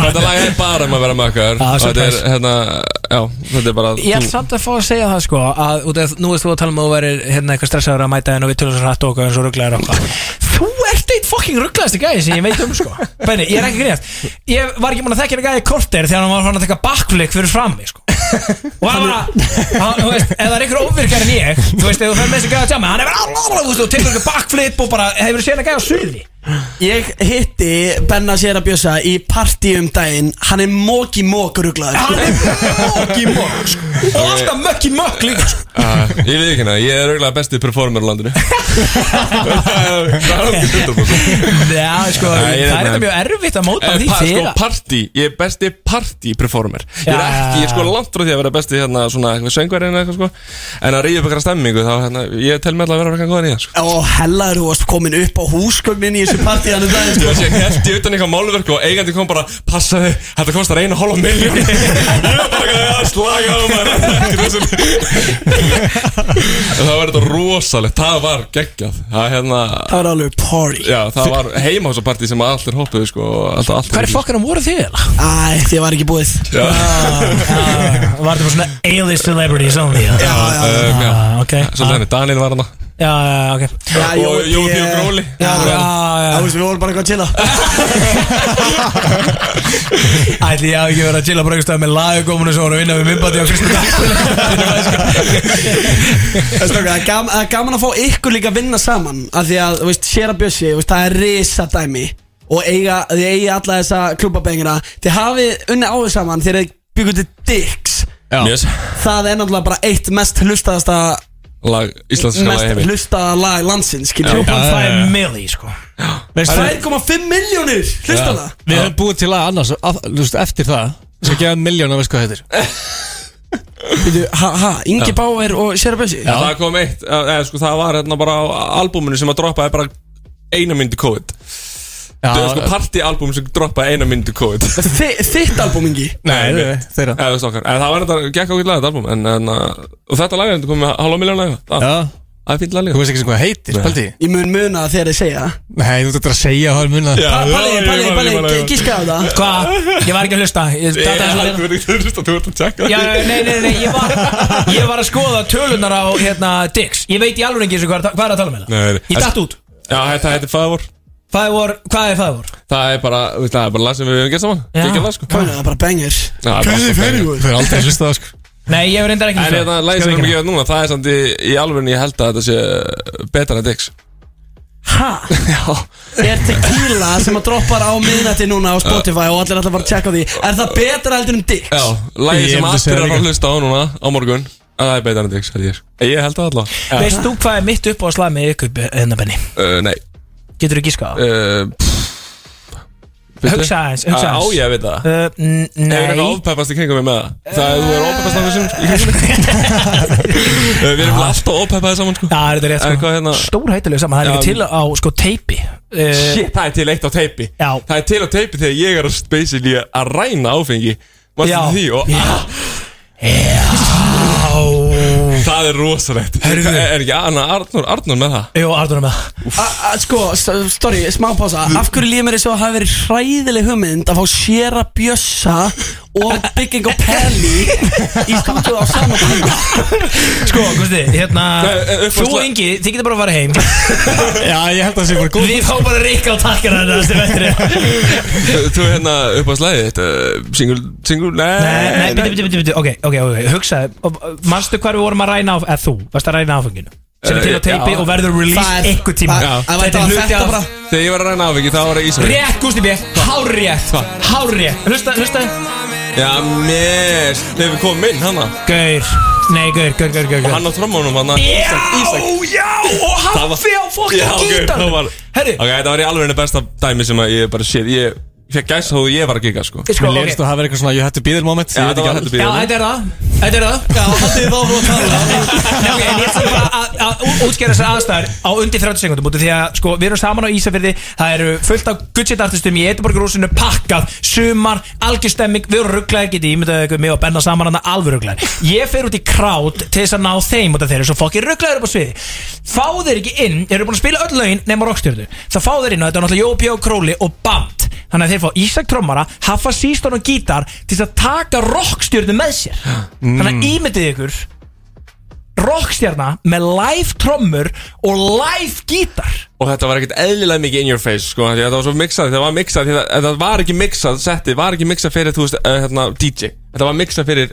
H: Þetta lag er bara um að vera mökkaður
C: Ah,
H: Og Þetta er,
C: surprise.
H: hérna, já, þetta er bara
C: Ég er
H: þú-
C: samt að fá að segja það sko að, út af, Nú veist þú að tala um að þú verir hérna, eitthvað stressaður að mæta en og við tölum svo hratt og okkar eins og rugglaður okkar Þú ert eitt fokking rugglaðasti gæði sem ég veit um sko Benni, ég er ekki greiðast Ég var ekki mann að þekkja hérna gæði kortir þegar hann var fann að taka backflick fyrir fram mig sko Og hann var að, hann- þú veist, ef það er einhver óvirkar en ég Þú veist, ef þú fer með þessi gæði að tjáma Hann er bara, þú veist, þú tekur eitthvað backflip og bara hefur séð hérna gæði á suði
B: Ég hitti Benna Sera Bjösa í partí um daginn Hann er móki mók rugglaður
C: Hann er mokk í mokk sko. Og alltaf mökk í mökk líka sko
H: Ah, Ég veit ekki hérna, ég er auðvitað besti performer á landinu Það er okkur stundum
C: Já, sko,
H: Nei,
C: það er
H: ég veit
C: þetta
H: það.
C: mjög erfitt að móta því fyrir
H: Sko, party, ég er besti party performer Ég
C: Já.
H: er ekki, ég er sko langt frá því að vera besti hérna svona eitthvað söngverðin eða eitthvað sko En að ríða upp eitthvað stemmingu þá, hérna, ég tel með alltaf að vera eitthvað góðan í það sko
B: Og hellaður, þú varst komin upp á húsgögnin í þessu partí hann um daginn
H: Ég
B: sko.
H: var síðan held ég utan eitthvað málverk og eigandi kom bara Passaðu, þetta kostar einu hálfa miljón Ég var bara eitthvað að slaga á maður En Það var þetta rosalegt, það var geggjað Það hérna,
B: Það var alveg party
H: já, það var heimásapartí sem allir hoppuðu sko og Alltaf, alltaf
C: Hvað er fokkanum voru þið eða?
B: Æ, því var ekki búið
H: Já,
C: Var þetta bara svona A-list celebrities only Já,
H: já, já, já.
C: ok Ah,
H: Svolítið henni, Daniel var hana
C: Já, já, ok
B: Já,
H: Og Jóti og Gróli
B: Já,
C: Já,
B: já
C: já,
B: Það veist, við vorum bara eitthvað að chilla
C: já Ætli ég hafi ekki verið að chilla bara einhvers stað með lagakomuna sem voru að vinna við minnbati á Kristi
B: Það er strákar, það er gam- það er gaman að fá ykkur líka að vinna saman Af því að, þú veist, Sera Bjössi, þú veist, það er risa dæmi Og eiga, þið eiga alla þessa klúbabengina Þið hafið unni áður saman Þið eru byggjum til Dicks
H: Mjög
B: Það er náttúrulega bara eitt mest hlustaðasta
H: lag íslenska lag í
B: Mest
H: heimi
B: hlustaða lag landsins skilur við.
D: 2.5 milli sko
C: Veist, það er-
B: 2,5 miljónir hlusta það
C: Við höfum búið til að annars að, lúst, Eftir það Svo gefa hann miljón að veist hvað þetta er
B: Veitu, Ha, ha, Ingi Bauer og Sera Bessi
H: En Það kom eitt, eða sko það var hérna bara á albúminu sem að droppaði bara eina myndi COVID Það er sko partyalbum sem droppaði eina myndi COVID Eða
B: Þi, Þitt album Ingi
C: Nei, nei,
H: mitt.
C: þeirra
H: þú veist okkar, en það var þetta, gekk ákveðlega þetta album en, en, uh, Og þetta lag er þetta komið með halva miljón lag Það
C: Já,
H: það er fínt lag
C: þú
H: líka
C: veist ekki sem hvað heitir,
H: Nei.
C: Paldi
B: Ég mun muna það þegar ég segja það.
C: Nei, þú ættir að segja um hvað er munna
H: Já,
B: Pa- Palli,
H: já, ég
B: Palli,
H: man, ég man,
B: Palli,
H: ég man.
B: gíska á það
D: Hvað? Ég var ekki að hlusta Ég
H: Ég
D: tataði svo
H: held
D: hérna
H: þú verið ekki að hlusta, þú ert að tjekka
D: Já, já, nei, nei, nei, ég var, ég var að skoða tölunar á hérna, Dix Ég veit í alveg ekki eins og hvað, er- hvað er að tala með það
H: Nei, nei.
D: Ég datt út
H: Já, þetta heitir Favor
D: Hvað er, hvað er það vor?
H: Það er bara, þú veist, það er bara lag sem við höfum gert saman
D: Já.
H: Kikið lag, sko
B: Hvað er það, bara bengir
H: Já, það er bara alltaf banging.
C: Þú er aldrei að hlusta það, sko
D: Nei, ég hef reyndar ekki
H: En hérna,
D: hlustað.
H: þetta lag sem við höfum gefið núna, það er samt í, í alveg Ég held að þetta sé betra en Dix
B: Ha? Er tequila sem að droppar á miðnætti núna á Spotify og allir ætla bara að tjekka á því Er það betra heldur en Dix?
H: Já, lagið
C: Ég
H: sem
C: myndi
H: allir
C: segja
H: er að fara að
C: líka.
H: hlusta á núna á morgun að Það er betra en Dix, held ég Ég held það alltaf
D: Veist þú hvað er mitt upp á að slaga með ykkur hérna Benni?
H: uh, Nei
D: Getur þú gískað á?
H: uh, pff,
D: Hugsa aðeins, hugsa
H: Ah, Á
D: aðeins.
H: ég að vita það
D: Uh, n-
H: Hefur
D: nei
H: eitthvað ofpeppast í kringum mig með það Það er þú er ofpeppast af þessum í kringum mig? Uh, Við erum alltaf ofpeppaði saman sko
D: Já, þetta er rétt
H: En hvað
D: sko
H: hérna-
D: Stór hættulega saman, það er
H: Já,
D: líka til á sko teipi uh,
H: Shit, það er til eitt á teipi
D: Já.
H: Það er til á teipi þegar ég er að basically að ræna áfengi Mastu
D: Já.
H: því og
D: Já.
H: ah, það er rosalegt
D: Heyrðu.
H: Er er ekki Anna Arnur, Arnur með það?
D: Jú, Arnur er með það
B: A- a- Sko, st- sorry, smá pása Af hverju líður mér þess að það hafi verið hræðileg hugmynd að fá Sera Bjössa og Bygging og Pelli í stúdíu á sama tíma
D: Sko, Gusti, hérna
H: Nei, eh, upp á
D: Þú
H: slag-
D: Ingi, þið getur bara að fara heim
C: Já, ég held að það sé bara góð
D: Við fáum bara rikka og takkar hann Það er vettri
H: Þú- Þú er hérna upp á slæði þetta Single, single, nei
D: Nei, nei, bíti, bíti, bíti, bíti Ok, ok, ok, hugsaði Manstu hvar við vorum að ræna á Eða þú, varst að ræna áfenginu Sem er til á
H: Eh,
D: teipi
H: já.
D: og verður
B: Það
D: release
B: er-
D: einhver tíma
B: það- það væri bara
D: Þetta er hluti
B: þetta
D: af
B: bara.
H: Þegar ég var að ræna áfengi þá var ég ísum
D: Rétt, Gusti B, hárrétt Hárrétt, hlusta, hlusta
H: Já, mér Þegar við komum inn hana
D: Gaur, nei, gaur, gaur, gaur, gaur,
H: Og
D: gaur.
H: hann á trommunum hana Ísak, Ísak
D: já, og
H: Það var-
D: hafði á
H: Já,
D: fokkin
H: ok,
D: gítar
H: það var-
D: Herru,
H: Ok, þetta var í alveg besta dæmi sem að ég bara séð Ég fekk gæsa þó ég var að gíka sko
D: sko,
C: Mér
D: ok
C: leirist að hafa eitthvað svona You had to be there moment
H: Já,
C: Ég veit
H: þetta
C: ekki
H: var
C: alveg
H: heldur
D: Já,
H: bíðan
D: þetta er það, þetta er það Já, haldið þið áfram að tala Nei, ok, en ég ætla bara að- að ú- útskýra þessar aðstæður á undir 30 sekundum út af Því að, sko, við erum saman á Ísafirði Það eru fullt af gudsetartistum í Edinborgarúsinu Pakkað, sumar, algjörstemming Við erum rugglaðir, getið ímyndaðið ykkur mig og Benna saman hann alveg rugglaðir Ég fer út í krát til þess að ná þeim út af þeir eru Svo fokki rugglaðir upp á sviði Fá þeir ekki inn, þeir eru búin að spila öll lögin nema rockstjörnu Það fá þeir inn og þetta er náttúrulega Jópi og Króli og Band Þannig að þeir fá Ísak trommara, Haffa Sístón og gítar til þess að taka rockstjörnu með sér Þannig að ímyndið ykkur rockstjarna með live trommur og live gítar
H: Og þetta var ekkert eðlilega mikið in your face sko því að Þetta var svo mixað, þetta var mixað því að- Þetta var ekki mixað, setti, var ekki mixað fyrir Þú veist, uh, hérna, DJ Þetta var mixað fyrir,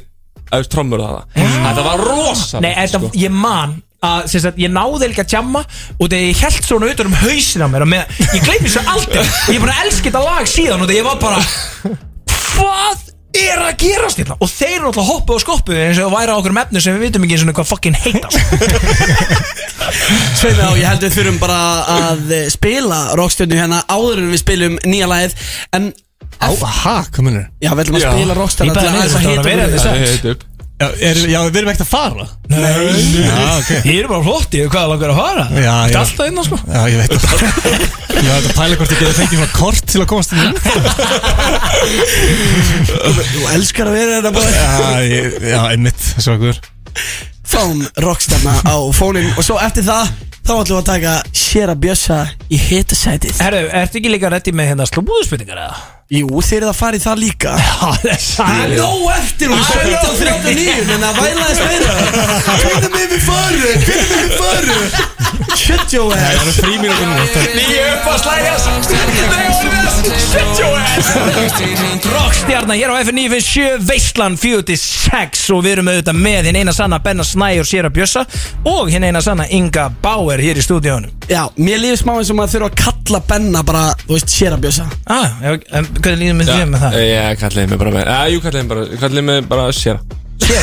H: uh, trommur og það Þetta var sko. rosa
D: Nei, þetta, ég man að sem sagt, ég náði ekki að jamma og þegar ég held svona utan um hausin á mér og með, ég gleymi svo aldrei ég er bara elski þetta lag síðan og þegar ég var bara hvað er að gerast hérna og þeir eru alltaf hoppuð og skoppuð eins og væri á okkur mefnu sem við vitum ekki eins og hvað fucking sko. heitast
B: Sveina og ég held við þurfum bara að eh, spila rockstjörnu hérna áður en við spilum nýja lagið En
C: Á, ha, hvað munir
B: já, við ætlum að
H: Já.
B: spila
D: Ég
B: rockstjörnu til að
D: bara meina
B: aðeins að
D: þetta var að vera
B: hita
D: þetta.
B: okkur.
H: Það er heitt upp
C: Já, er, já, við erum ekkert að fara Já, ok
D: ég er bara flott, ég er hvað langar að fara
C: Já,
D: Þetta
C: já.
D: er alltaf inn á sko
C: Já, ég veit það Ég var þetta að pæla hvort ég geti fengið svona kort til að komast inn
B: Þú elskar að vera þetta bara
C: Já, ég- já, einmitt, svo okkur
B: fáum rockstjarna á fónin og svo eftir það þá ætlum við að taka Shera Bjössa í hitasætið
D: Herru, ertu ekki líka reddi með hérna slúðuspurningar eða?
B: Jú, þeir eru að fara í það líka
D: það er
B: Það er
D: sæl
B: nóg eftir og 17.39 en það vælaðist meira Hvernig með við faru? Hvernig með við faru? Shut your ass
C: Það er frí mínútur nú
D: Nýju uppaslæðjas Shut your ass Rockstjarnar hér á FN9 finn 7 Veistlan 46 og við erum auðvitað með hinn eina sanna Benna Snæ og Sera Bjössa og hinn eina sanna Inga Bauer hér í stúdíónu
B: Já, mér líður smá eins og maður þurfa að kalla Benna bara, þú veist, Shera Bjössa
D: ah, já, en um, Hvernig líðum við þér með það?
H: Eh, Já, ég kallaði mig bara með Já, jú, kallaði mig bara, kallaði mig bara sér
D: Ég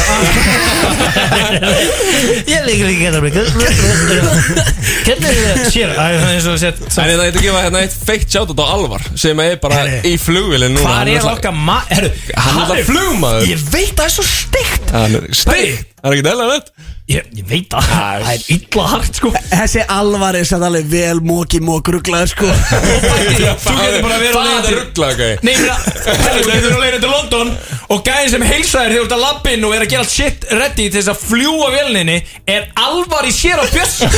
D: leikur ekki hérna Hvernig er það? Sér, það er eins og sett
H: En ég ætla að gefa hérna eitt feikt sjátt á Alvar sem er bara
D: Herri.
H: í flugvili núna
D: Hvað
H: Hann
D: er
H: náttúrulega-
D: okkar maður? Herru,
H: Hann er alltaf flugmaður
D: Ég veit það er svo steikt
H: Hann er stig Það er ekki dæla vett
D: Ég, ég veit það Það er illa hart sko
B: Þessi alvar er satt alveg vel móki mók rugglaður sko
D: Þú getur bara verið á
H: á leiðin
D: leiðinni
H: Það er
D: til-
H: ruggla, ok
D: Nei, ég meina, herru, þú getur á leiðinu til London og gæðin sem heilsa þér þegar þú ert að lappin og er að gera allt shit ready til þess að fljúa vélninni er alvar í sér á bjöss Ég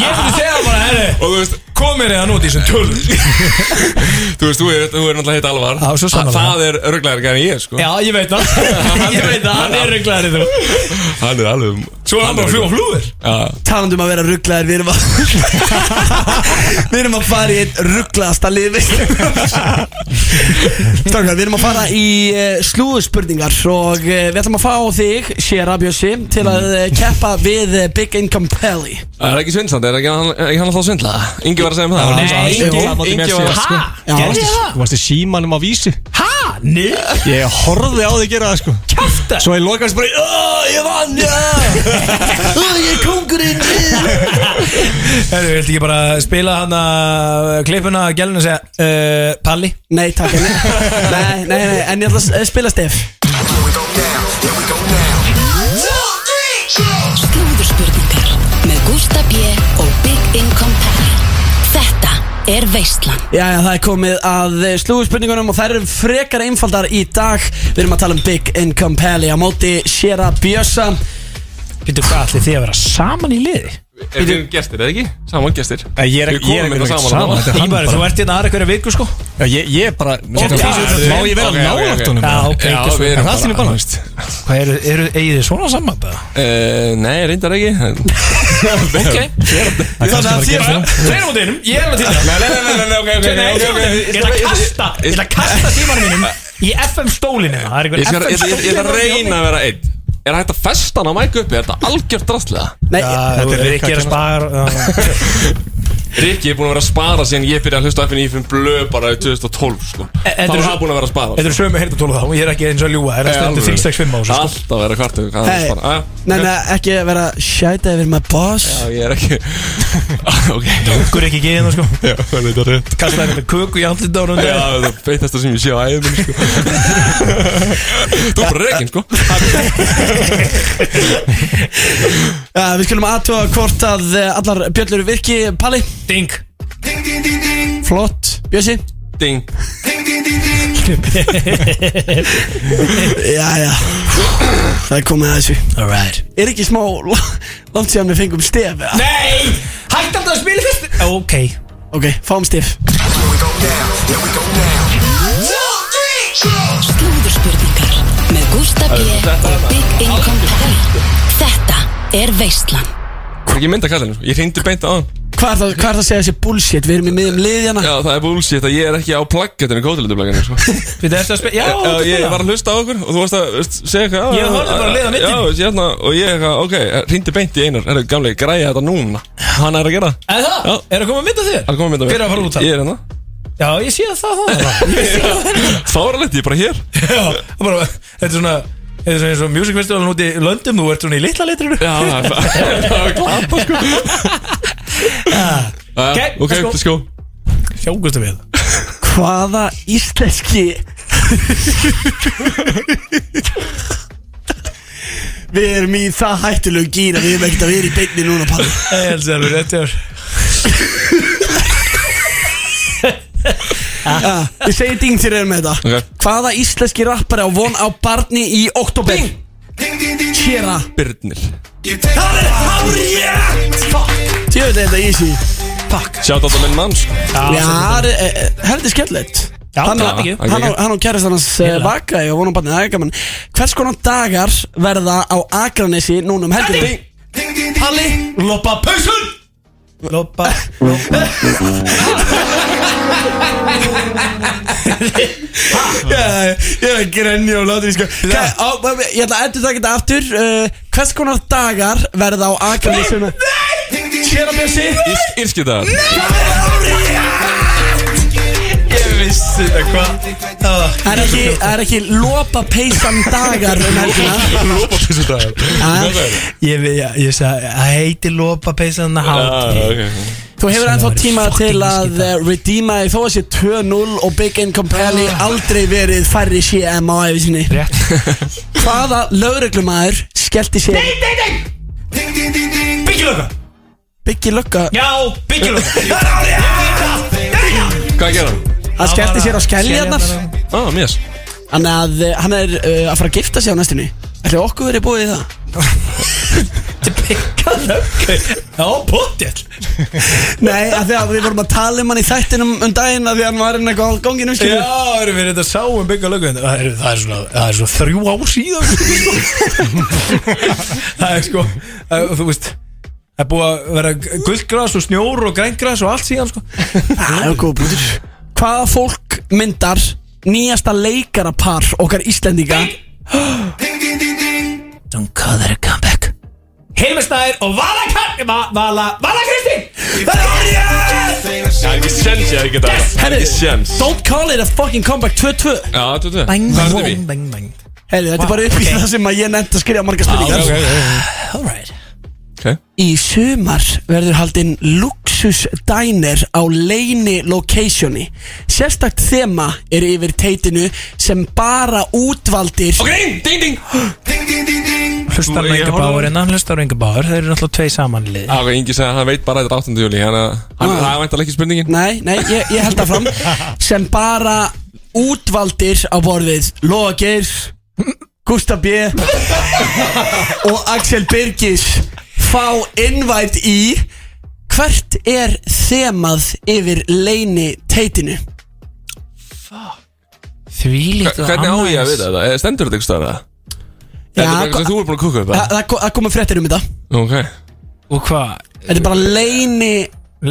D: myndi segja bara,
H: Og
D: herru,
H: þú veist,
D: komir þér það nút í þessum tölv
H: þú veist, þú er, þú er náttúrulega hitt Alvar
D: Já, svo sannarlega.
H: Þa- Það er rugglaður gæðin ég, sko
D: Já, ég veit það Ég veit það, hann er rugglaður þú
H: Hann er alveg
D: Svo er hann bara að fljúa flúður
H: Já,
B: Talandum um að vera rugglaður Við erum að Við erum að fara í einn rugglaðasta lið Strákar, við erum að fara í uh, slúðspurningar Og uh, við ætlum að fá þig Sjera Bjössi Til að uh, keppa við uh, Big Income Pally
H: það er ekki svindsandi, er ekki hann, er ekki hann alltaf að svindla? Ingi var að segja um það
D: Nei,
H: Ingi-
D: Ingi-
H: Ingi var að
D: Ha?
B: Já.
D: Gerði ég það?
C: Þú varst í símanum á vísi
D: Ha? Nei?
C: Ég horfði á því gera það sko
D: Kæftar?
C: Svo ég lokast bara í, "Ó, Ég vann, já
B: Ég er kongurinn
D: Herru, viltu ekki bara spila hann að uh, klippuna að gælun og segja uh, Palli?
B: Nei, takk nei, nei, nei, nei, en ég ætla að s- spila stef
G: Slúðurspurningar með Gústa B. og Big Income Pally Þetta er Veistland
B: Jæja, það er komið að slúðspurningunum og þær eru frekar einfaldar í dag Við erum að tala um Big Income Pally á móti Sjera Bjössa
D: Býttu hvað allir því að vera saman í liði?
H: Er við gestir, eða ekki? Saman gestir
C: Ég er ekki- ég er ekki
H: Við komum hérna saman
C: saman.
H: þarna.
C: Þetta er hann
D: Íbar,
C: bara.
D: þú ert hérna aðra hverja viku sko
C: Ég ég er bara
D: já,
C: Má ég vera
H: ok, ok, ok.
C: nálægt honum
D: Já, ok,
H: Já,
C: ekki svo.
H: við
C: En
H: erum
C: Það
H: bara-
C: sem ég bara veist
D: Hvað eru, eru eigið þið svona saman það?
H: Eh, Nei, reyndar ekki Ok
D: Þannig að þér Þeir á deinum, ég er alveg til það
H: Nei, nei, nei, nei, nei, ok, ok,
D: Nei,
H: ok,
D: ég
H: ok, ok.
D: ætla að kasta Ég ætla að kasta tímanum mínum í FM stólinu Það er
H: Ég skal, ég,
D: einhver
H: ég, ég
D: FM
H: ætla að reyna að vera einn Er hægt að festa hann á mæk uppi? Er þetta algjört drastlega?
B: Nei,
D: Þetta er ekki að spara
H: Rikki er búin að vera að spara síðan ég byrja að hlusta á FNF blöð bara í 2012 sko. Þá
D: E, þetta
H: er
D: er-
H: hann búin að vera að spara
D: Þetta er sömu hirtatólu þá, ég er ekki eins og að ljúga Það er að
H: Nei,
D: stendur
H: alveg.
D: 365 á þessu, sko.
H: Alltaf vera hvart yfir hvað hann er
B: Hey,
H: að spara
B: nei, nei, ekki vera shæta yfir my boss
H: Já, ég er ekki Ok
D: Gungur ekki geðin það sko
H: Já, það er rétt
D: Kastaði þetta köku í andlita á
H: Já,
D: hún
H: það er feitast sem ég sé á æðum sko. Þú er bara reikin, sko
B: uh, Við skulum aðtúa hvort að eh, allar bjöllur virki Palli,
D: Ding
B: flott, Bjössi
H: Ding
B: Jæja, það er komið að þessu
D: Alright
B: Er ekki smá langt síðan við fengum stef eða?
D: Nei, hætti alltaf að spila fyrst Ok
B: Ok, fáum stef
G: Slúðurspurningar með Gústa B. og Big Income Pally Þetta er Veistland
H: Það er ekki mynd að kalla henni, sko. ég hringdi beint á hann
B: Hvað er það, hvað er það að segja þessi bullshit? Við erum í hérna. miðum liðjana
H: Já, það er bullshit að ég er ekki á plaggetinu, kótilutuplaggetinu sko.
D: Við þess að spila Já,
H: Já,
D: þetta
H: ég
D: spila.
H: var að hlusta á okkur og þú varst að veist, segja eitthvað já,
D: Ég horfði bara að leiða á netinu.
H: Já, veist, ég hérna, og ég eitthvað, ok, hrýndi beint í einar Herru, gamli, græja þetta núna Hann er að gera það
D: Er
H: Já.
D: það? Er það komið að mynda þér?
H: Hann komið mynda
D: Hver er að fara út af?
H: Ég er hérna
D: Já, ég sé það það það.
H: Fáralegt, ég er bara hér
D: Já, það bara, þetta er svona Þetta er svona eins og music festivalin úti í London Þú ert svona í litla litrinu
H: Já, það er- það var klappa, sko
D: Ah. Ok,
H: Já, Ok,
D: let's
H: let's
D: go.
H: go
D: Sjákustu við
B: Hvaða íslenski Við erum í það hættulegu gýra Við erum ekkert að vera í beinni núna Palli
D: Ég held sér alveg rétt hjá þér.
B: ja, Ég segi ding til þér með þetta
H: Ok.
B: Hvaða íslenski rappari á von á barni í oktober? Kjera
H: Birnir
B: Það er hárið Tjóðið þetta easy
H: Sjátt á minn mann, sko
B: Já, það er- eh, heldur skellilegt
D: Já,
B: Hann á-
D: takk ekki.
B: hann á- hann og kærist hans eh, vaka og von á barni, það er gaman Hvers konar dagar verða á Akranesi núna um helginu?
D: Palli Loppa pausun Loppa
B: Ég ég er að grenni og láta því sko Hvað- á, á- Ég ætla að endur taka þetta aftur uh, Hvers konar dagar verða á Akranesinu?
D: Kjera Bjössi
H: Írski dagar
D: Ég
J: vissi þetta, hvað?
B: Það er ekki, það er ekki lopa peysan dagar um helgina Ah,
J: Lópa þessu dagar Hvað er
D: Ég, veit- ég, ég sagði, það heiti lopa peysan að hát
J: það?
B: Þú hefur ennþá
D: væri
B: tíma
D: fucking
B: til að eh, redeema því þó að sé 2-0 og Big Income Pally aldrei verið færri CM á æfi sinni
D: Ah. Rétt
B: Hvaða lögreglumæður skellti sér
D: Byggjulöka
B: Biggi Lögga
D: Já, byggjulöka Það er árið
H: Hvað gerði hann?
B: að skellti sér á
D: hérna
B: skelljarnar
H: Á, ah, mjög
B: Þannig að eh, hann er uh, að fara að gifta sig á næstunni Ætli okkur verið búið í það
D: Já, potjall
B: Nei, af því að við vorum að tala um hann í þættinum um daginn af því að hann var inn að góða gónginum
D: Já,
B: um skilur
D: erum við reynda að sáum byggjulöku það, er- það er svona, það er svona þrjú ár síðan sko. Það er sko, það, er- þú veist Það er búið að vera gullgras og snjór og grængras og allt síðan sko
B: Það er góð bútur Hvaða fólk myndar nýjasta leikarapar okkar Íslendinga
D: Don't call that a comeback Hilmi Snær og Vala Kar- Va- Vala, Vala Kristín Það er árið
H: Það er ekki sjens ég að geta það Það er
B: Herri,
H: ekki sjens
B: Don't call it a fucking comeback 2-2
H: Já, þú veit
D: Bang,
H: Hvað er þetta við?
D: bang, bang, bang
B: Herri, þetta er bara upp í það sem að ég nefndi að skrifa marga spurningar
D: Alright
B: Í sumar verður haldinn Luxus Diner á Leini Locationi Sérstakt þema er yfir teitinu sem bara útvaldir
H: Ok, ding, ding
D: Hlustar hann enga báður en hann hérna, hlustar enga báður Þeir eru náttúrulega tvei saman í liði
H: Á, ok, Ingi sagði að hann veit bara að þetta er 8. júli Þannig að hann- það er væntalega ekki spurningin
B: Nei, nei, ég, ég held það fram sem bara útvaldir á borðið Lóa Geirs Gustaf B og Axel Birgis fá innvætt í hvert er þemað yfir leini teitinu
D: Því líkt og
H: Hvernig á ég að
D: annars.
H: vita þetta? Eh, Stendur þetta ykkur staðar eða? Þetta er bara
B: það
H: eitthvað sem þú er búin að kúka upp
B: það-
H: eða?
B: það ko- það komu fréttir um þetta
H: Ok
D: Og hvað?
B: Þetta er bara leini,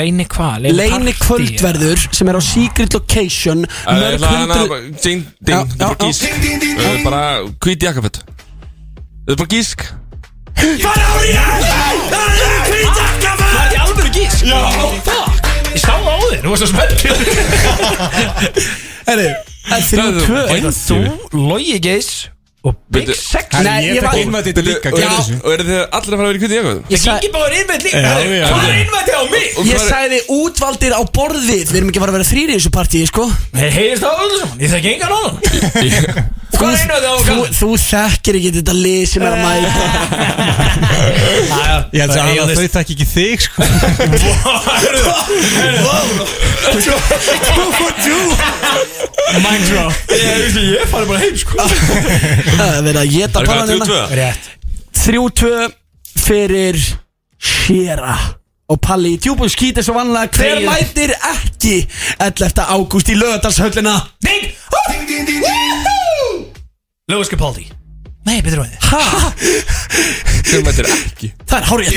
D: Leini hvað?
B: leini
D: partí,
B: kvöldverður sem er á secret location
H: Það
B: mörg
H: er hana
B: hundru
H: bara- Ding,
B: Já, já,
H: ding, það er bara
B: já.
H: gísk Það er bara hvít jakkafett Það er bara gísk
D: eða? Það er í alveg gísk Já, fuck Ég sá það á þér, þú varst að spenna
B: Herri,
H: Það er
B: 3-2
H: bara-
D: Þú, Logi Geis og Big
H: Veitu-
D: Sex
B: Nei, ég var
C: innmættið líka
H: Og
C: gerði
H: eru-
C: þessu.
H: Og eru þið allir að fara að vera í hvít jakkafett?
B: Ég sagði-
D: Ingi báður innvætt líka
C: Já, já.
D: Hvað er innvætt á mig?
B: Ég sagði útvaldir á borðið Við erum ekki að fara að vera þrýri í þessu partíi, sko
D: Nei, heyrist það alveg saman Ég þekki engan annan
B: Þú,
D: Hvað er innvætt á
B: þú, þú þekkir ekki þetta lið sem er að mæta
C: Ég held
D: Hey,
C: að
D: honest.
C: þau þekki ekki þig sko
D: Mind drop Ég fari bara heim sko
B: Það er verið að geta
H: Það er hvað,
B: pannan
H: 22?
B: hérna
D: Rétt
B: 3-2 fyrir Shera og Palli í djúbun skýti svo vanlega Hver
D: Þegið.
B: mætir ekki 11. ágúst í lögadalshöllina
D: Ding Lewis Capaldi Nei, betur við
B: Ha?
H: Hver mættir ekki?
B: Það er hárið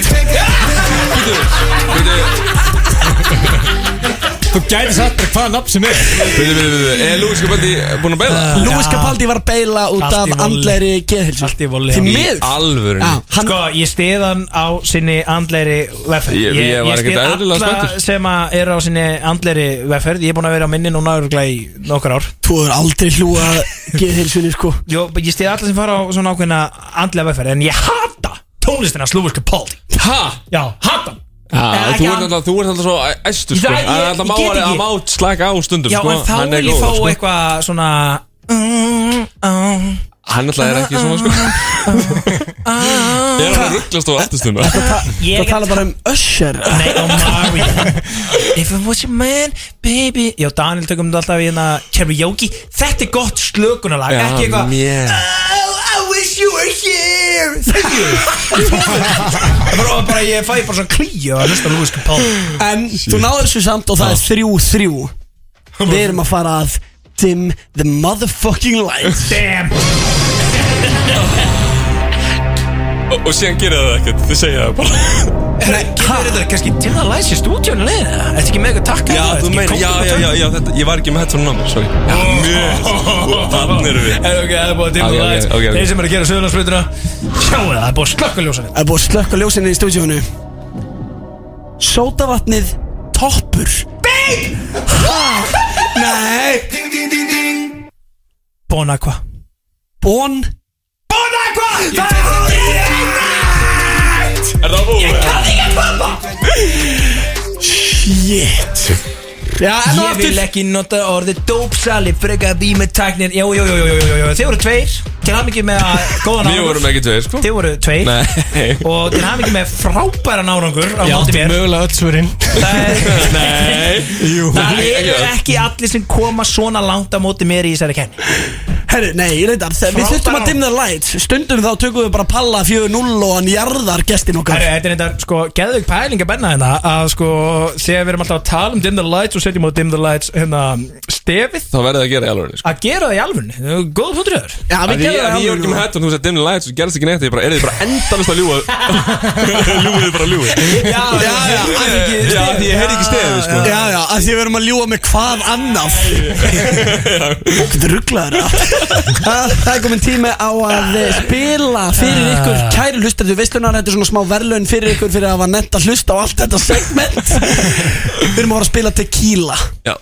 C: Þú gæti satt bara hvaða nafn sem er
H: Veitu, veitu, veitu, er Lúi Skabandi búin að beila?
B: Lúis Capaldi var að beila út
D: Allt
B: af
D: í volli.
B: andleiri geðhilsu
D: Allt í volli,
B: Því
D: já.
B: miður
H: Alvöru
B: Já, hann-
D: Sko, ég stið hann á sinni andleiri vefferð
H: Ég- ég var
D: styð
H: ekkert eðlilega spenntur.
D: sem að eru á sinni andleiri vefferð Ég er búin að vera á minni núna örgla í nokkur ár
B: Þú hefur aldrei hlúa geðhilsunni, sko
D: Jó, ég stið alla sem fara á svona ákveðna andlega vefferð En ég hata tónlistina Slúfus Capaldi
H: Ha?
D: Já, hata hann.
H: Ha,
D: Eh,
H: þú
D: ekki
H: ert
D: hann.
H: alltaf, þú ert alltaf svo æ- æstur
D: Ég-
H: sko
D: ég-
H: Það er alltaf
D: ég
H: má
D: get
H: að
D: ekki.
H: má slaka á stundum
D: Já,
H: sko
D: en þá
H: Hann er
D: vil ég
H: góður,
D: fá
H: sko.
D: eitthvað svona mm, mm,
H: Hann alltaf er ekki svona sko Ég er að rugglast á afturstund
D: Ég
B: Það tala bara um Usher
D: Nei, oh Mario If I was your man, baby Já, Daniel tökum þetta alltaf í hérna karaoke Þetta er gott slökunarlag, ekki eitthvað
H: mér
D: Oh, I wish you were here Thank you Það var bara, ég fæ bara svona klíu að hlusta á Lewis Capaldi
B: En þú náður þessu samt og það er þrjú þrjú Við erum að fara að Dim the motherfucking lights
D: Damn
H: Og og síðan gerir það ekkert, þið segja það bara
D: Getur þetta kannski til að læsa í stúdíónu leið Þetta ekki með eitthvað takka
H: Já, þú meina, já, já, já, já, þetta, ég var ekki með headphone námi, sorry Já, mjög, þannig erum við
D: Er ok, það er
H: Ok,
D: búið að dimma
H: ok,
D: lights
H: ok, ok.
D: Þeir sem eru að gera söðunarsplutuna Sjáu það, það er búið að slökka ljósanum
B: Það er búið að slökka ljósinni í stúdíónu Sótavatnið Toppur Babe
D: Nei Ding ding ding ding Bon Aqua
B: Bon
D: Bon Aqua Það er hárið rétt
H: Er það búið?
D: Kann ekki að koma
B: Shit E Já, en
D: Ég vil
B: aftur
D: ekki nota orðið dópsali Freka því með tæknin Jú, jú, jú, jú, jú, jú, jú Þið voru tveir Til hann ekki með að góðan
H: Við vorum ekki tveir sko
D: Þið voru tveir
H: Nei
D: Og til hann ekki með frábæra nárangur Á
C: Ég
D: móti
C: átti
D: mér
C: mögulega öll svörin
D: Það er-
H: Nei Jú
D: Það eru
H: öll.
D: ekki allir sem koma svona langt á móti mér í þessari kenni
B: Herru, nei, ég reyndar þegar Við
D: Frábær
B: þurftum að
D: árangur.
B: dimna light Stundum þá tökum við bara palla 4-0 og hann jarðar gestin okkar
D: Herru, þetta er þetta, sko, geðug pæling að benna hérna að sko, þegar við erum alltaf að tala um Dim the Lights og setjum á Dim the Lights hérna, stefið,
H: Það verðið að gera í alveg sko
D: að gera það í alvunni Góð punktur öður
B: Já,
H: Að
B: við
H: ég
B: gerum
H: að ég var ekki með
B: alveg
H: hættum, þú veist að dimni lights og gerðist ekki neitt Ég bara, er þið bara endalist að ljúa Ljúið bara ljúið
D: Já, já, já, að ekki
H: Já, því ég heyrði ekki stefið sko
B: Já, já, að því við erum að ljúa með hvað annað Þetta rugglaður Það er komin tími á að spila fyrir ykkur Kæri hlustendur veislunar, þetta er svona smá verðlaun fyrir ykkur fyrir að hafa nefnt að hlusta á allt þetta segment Við erum að fara að spila tequila
H: Já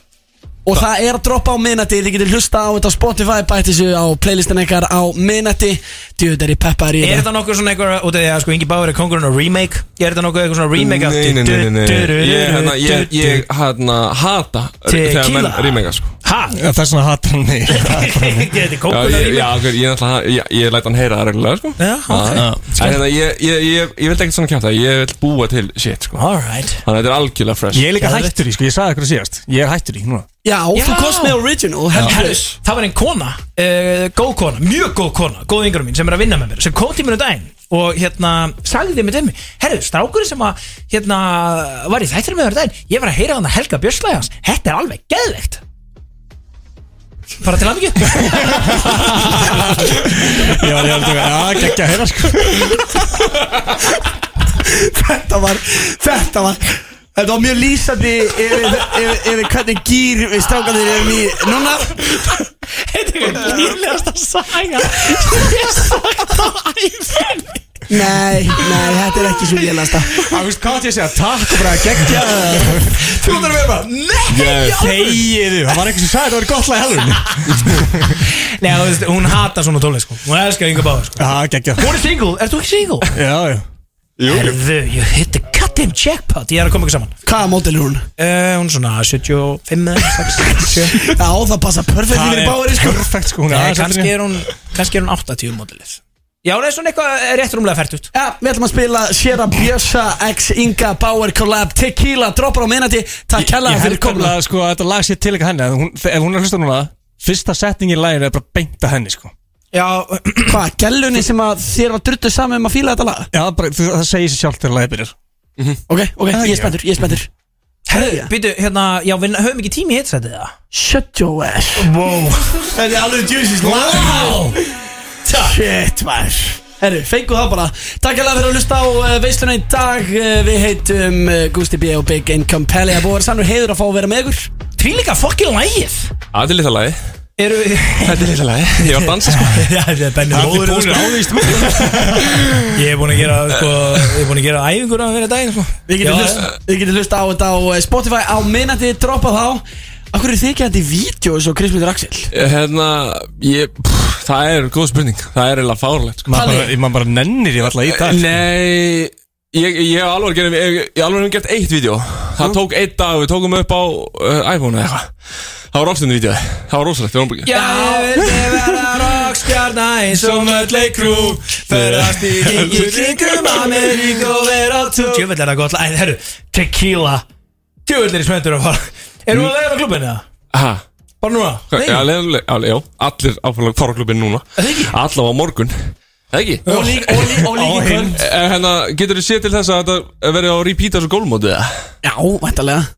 B: Og það er að droppa á minnati Þið getur hlusta á þetta á Spotify Bætti þessu á playlistin ykkar á minnati Djöðu þeirri peppar í
D: Er
B: þetta
D: þetta nokkuð svona eitthvað, út af því að sko Ingi Báður er kongurinn á remake Er þetta nokkuð eitthvað svona remake af-
H: Nei, nei, nei, nei, nei.
D: Du- du-
H: Ég, hérna, ég,
D: du-
H: ég, hérna, hata Þegar menn
D: Tequila.
H: rýmenga, sko
D: Ha?
C: Það er svona hatt hann mig
D: Þetta er
H: Já,
D: kongurinn á
H: ég,
D: remake
H: já, ok, ég, náttúrulega- ég, ég læt hann heyra það reglulega, sko
D: Já, ok.
H: Já. En hérna, ég, ég, ég, ég vildi ekkert svona kjáta Ég vil búa til shit, sko
D: Alright
H: Þannig að þetta er algjörlega fresh
C: Ég er líka hættur í, sko, ég sagði eitthvað síðast Ég er hættur í núna
B: Já, þú
D: Já.
B: kost með original
D: Herru,
B: heldur.
D: það var einn kona, uh, góð kona, mjög góð kona, góð yngur mín sem er að vinna með mér, sem kom til mér um daginn og hérna sagði mér til mig, herru, strákurinn sem að hérna var í þættir með mér um daginn, ég var að heyra hann að Helga Björslæði hans, þetta er alveg geðveikt. Bara til aðmyggju
C: Ég var ég var að taka, já, geggja að heyra, sko
B: Þetta var Þetta var Þetta var mjög lýsandi yfir, yfir, yfir hvernig gýr við strákanir erum í núna
D: Þetta er nýrlegast að saga Ég er sagt á æfinni
B: Nei, nei, þetta er ekki svo lélasta
C: Þú veist hvað ég segja, takk og bara geggja
D: Þú þarf að vera bara, nei
H: Yes.
C: Þegiðu, það var eitthvað sem sagði, það var gott lag helvun
D: Nei, þú veist, hún hata svona tónlist sko Hún elskar yngur báður sko
C: Já, geggja
D: Hún er single, ert þú ekki single?
C: Já, já
D: Herðu, ég hit the goddamn jackpot Ég er að koma ykkur saman
B: Hvaða mótil er hún?
D: Uh, hún er svona 75 eða 6
B: Já, það passa perfekt
C: Það
B: yfir
C: er
B: bári sko
C: perfekt, sko, hún er
D: Nei,
C: aðeins
D: kannski
C: eldri.
D: er hún kannski er hún 80 módilið Já, hún er svona eitthvað rétt rúmlega fært út
B: Já, við ætlum að spila Sjera Bjössa X Inga Bauer Collab Tequila Droppar á minnati Takk
C: Ég
B: kærlega fyrir
C: held
B: komuna
C: komla, sko, að þetta lag sér til eitthvað henni að hún- Ef hún er að hlusta núna, fyrsta setning í laginu er bara beint að henni, sko
D: Já,
B: Hvað, gælunni sem að þér var druttu saman um að fíla þetta lag?
C: Já, bara, þú- það segir sér sjálft þegar lagið byrjar
B: Ok, ok, Ah, ég er spenntur, ég er spenntur Herðu,
D: býtu, hérna, já, við höfum ekki tími í hitsætið það
B: shut your ass
D: Wow
B: Þetta er alveg djúsis Wow Shit, man Herru, fengu það bara Takk alveg fyrir að hlusta á uh, veisluna í dag uh, Við heitum uh, Gusti B og Big Income Pelli Það er búið að vera sannur heiður að fá að vera með ykkur
D: Tvílíka fokkin lægið
H: Þetta er litla lagi
D: Eru
H: Þetta er litla lagi Ég var að dansa, sko
D: Já, þetta er bennið
C: Allir búnir á því, sko
D: Ég er búin að gera, sko, ég er búin að gera æfingur á fyrir daginn, sko
B: Við
D: Já,
B: getum hlusta, við getum hlusta á þetta á eh, Spotify Á minnandi droppa þá Akkur er þið ekki þetta í vídeo eins og Krismundur Axel
H: Hérna, ég, pff, það er góð spurning Það er eiginlega fárlegt, sko
C: Maður bara-
B: Palli.
C: maður bara nennir ég alltaf í dag sko.
H: Nei, ég, ég hef alveg gerð Ég ég hef alveg gert eitt vídeo Það tók eitt dag, við tókum upp á uh, iPhone eða eitthvað Það var ofstundin vídeo Það var rosalegt, við varum bara
D: Já, ég vildi vera rockstjarna eins og öll leikrú Ferðast í ringi kringum Amerík og vera á tún Djöfell er það gott lag, Æ, herru, tequila Djöfell er í smöndur að fara Erum við að leiða á klubinu það?
H: Hæ?
D: Bara núna? Nei,
H: Já, leiðanlega, já, já, allir áfæðlega fárklubin núna
D: það ekki
H: Alla á morgun eh, Það ekki?
B: Og líka og líka- og líka í kvöld
H: Eh, Hérna, getur þú séð til þess að þetta verði á repeat á þessu gólmótið?
B: Já, væntalega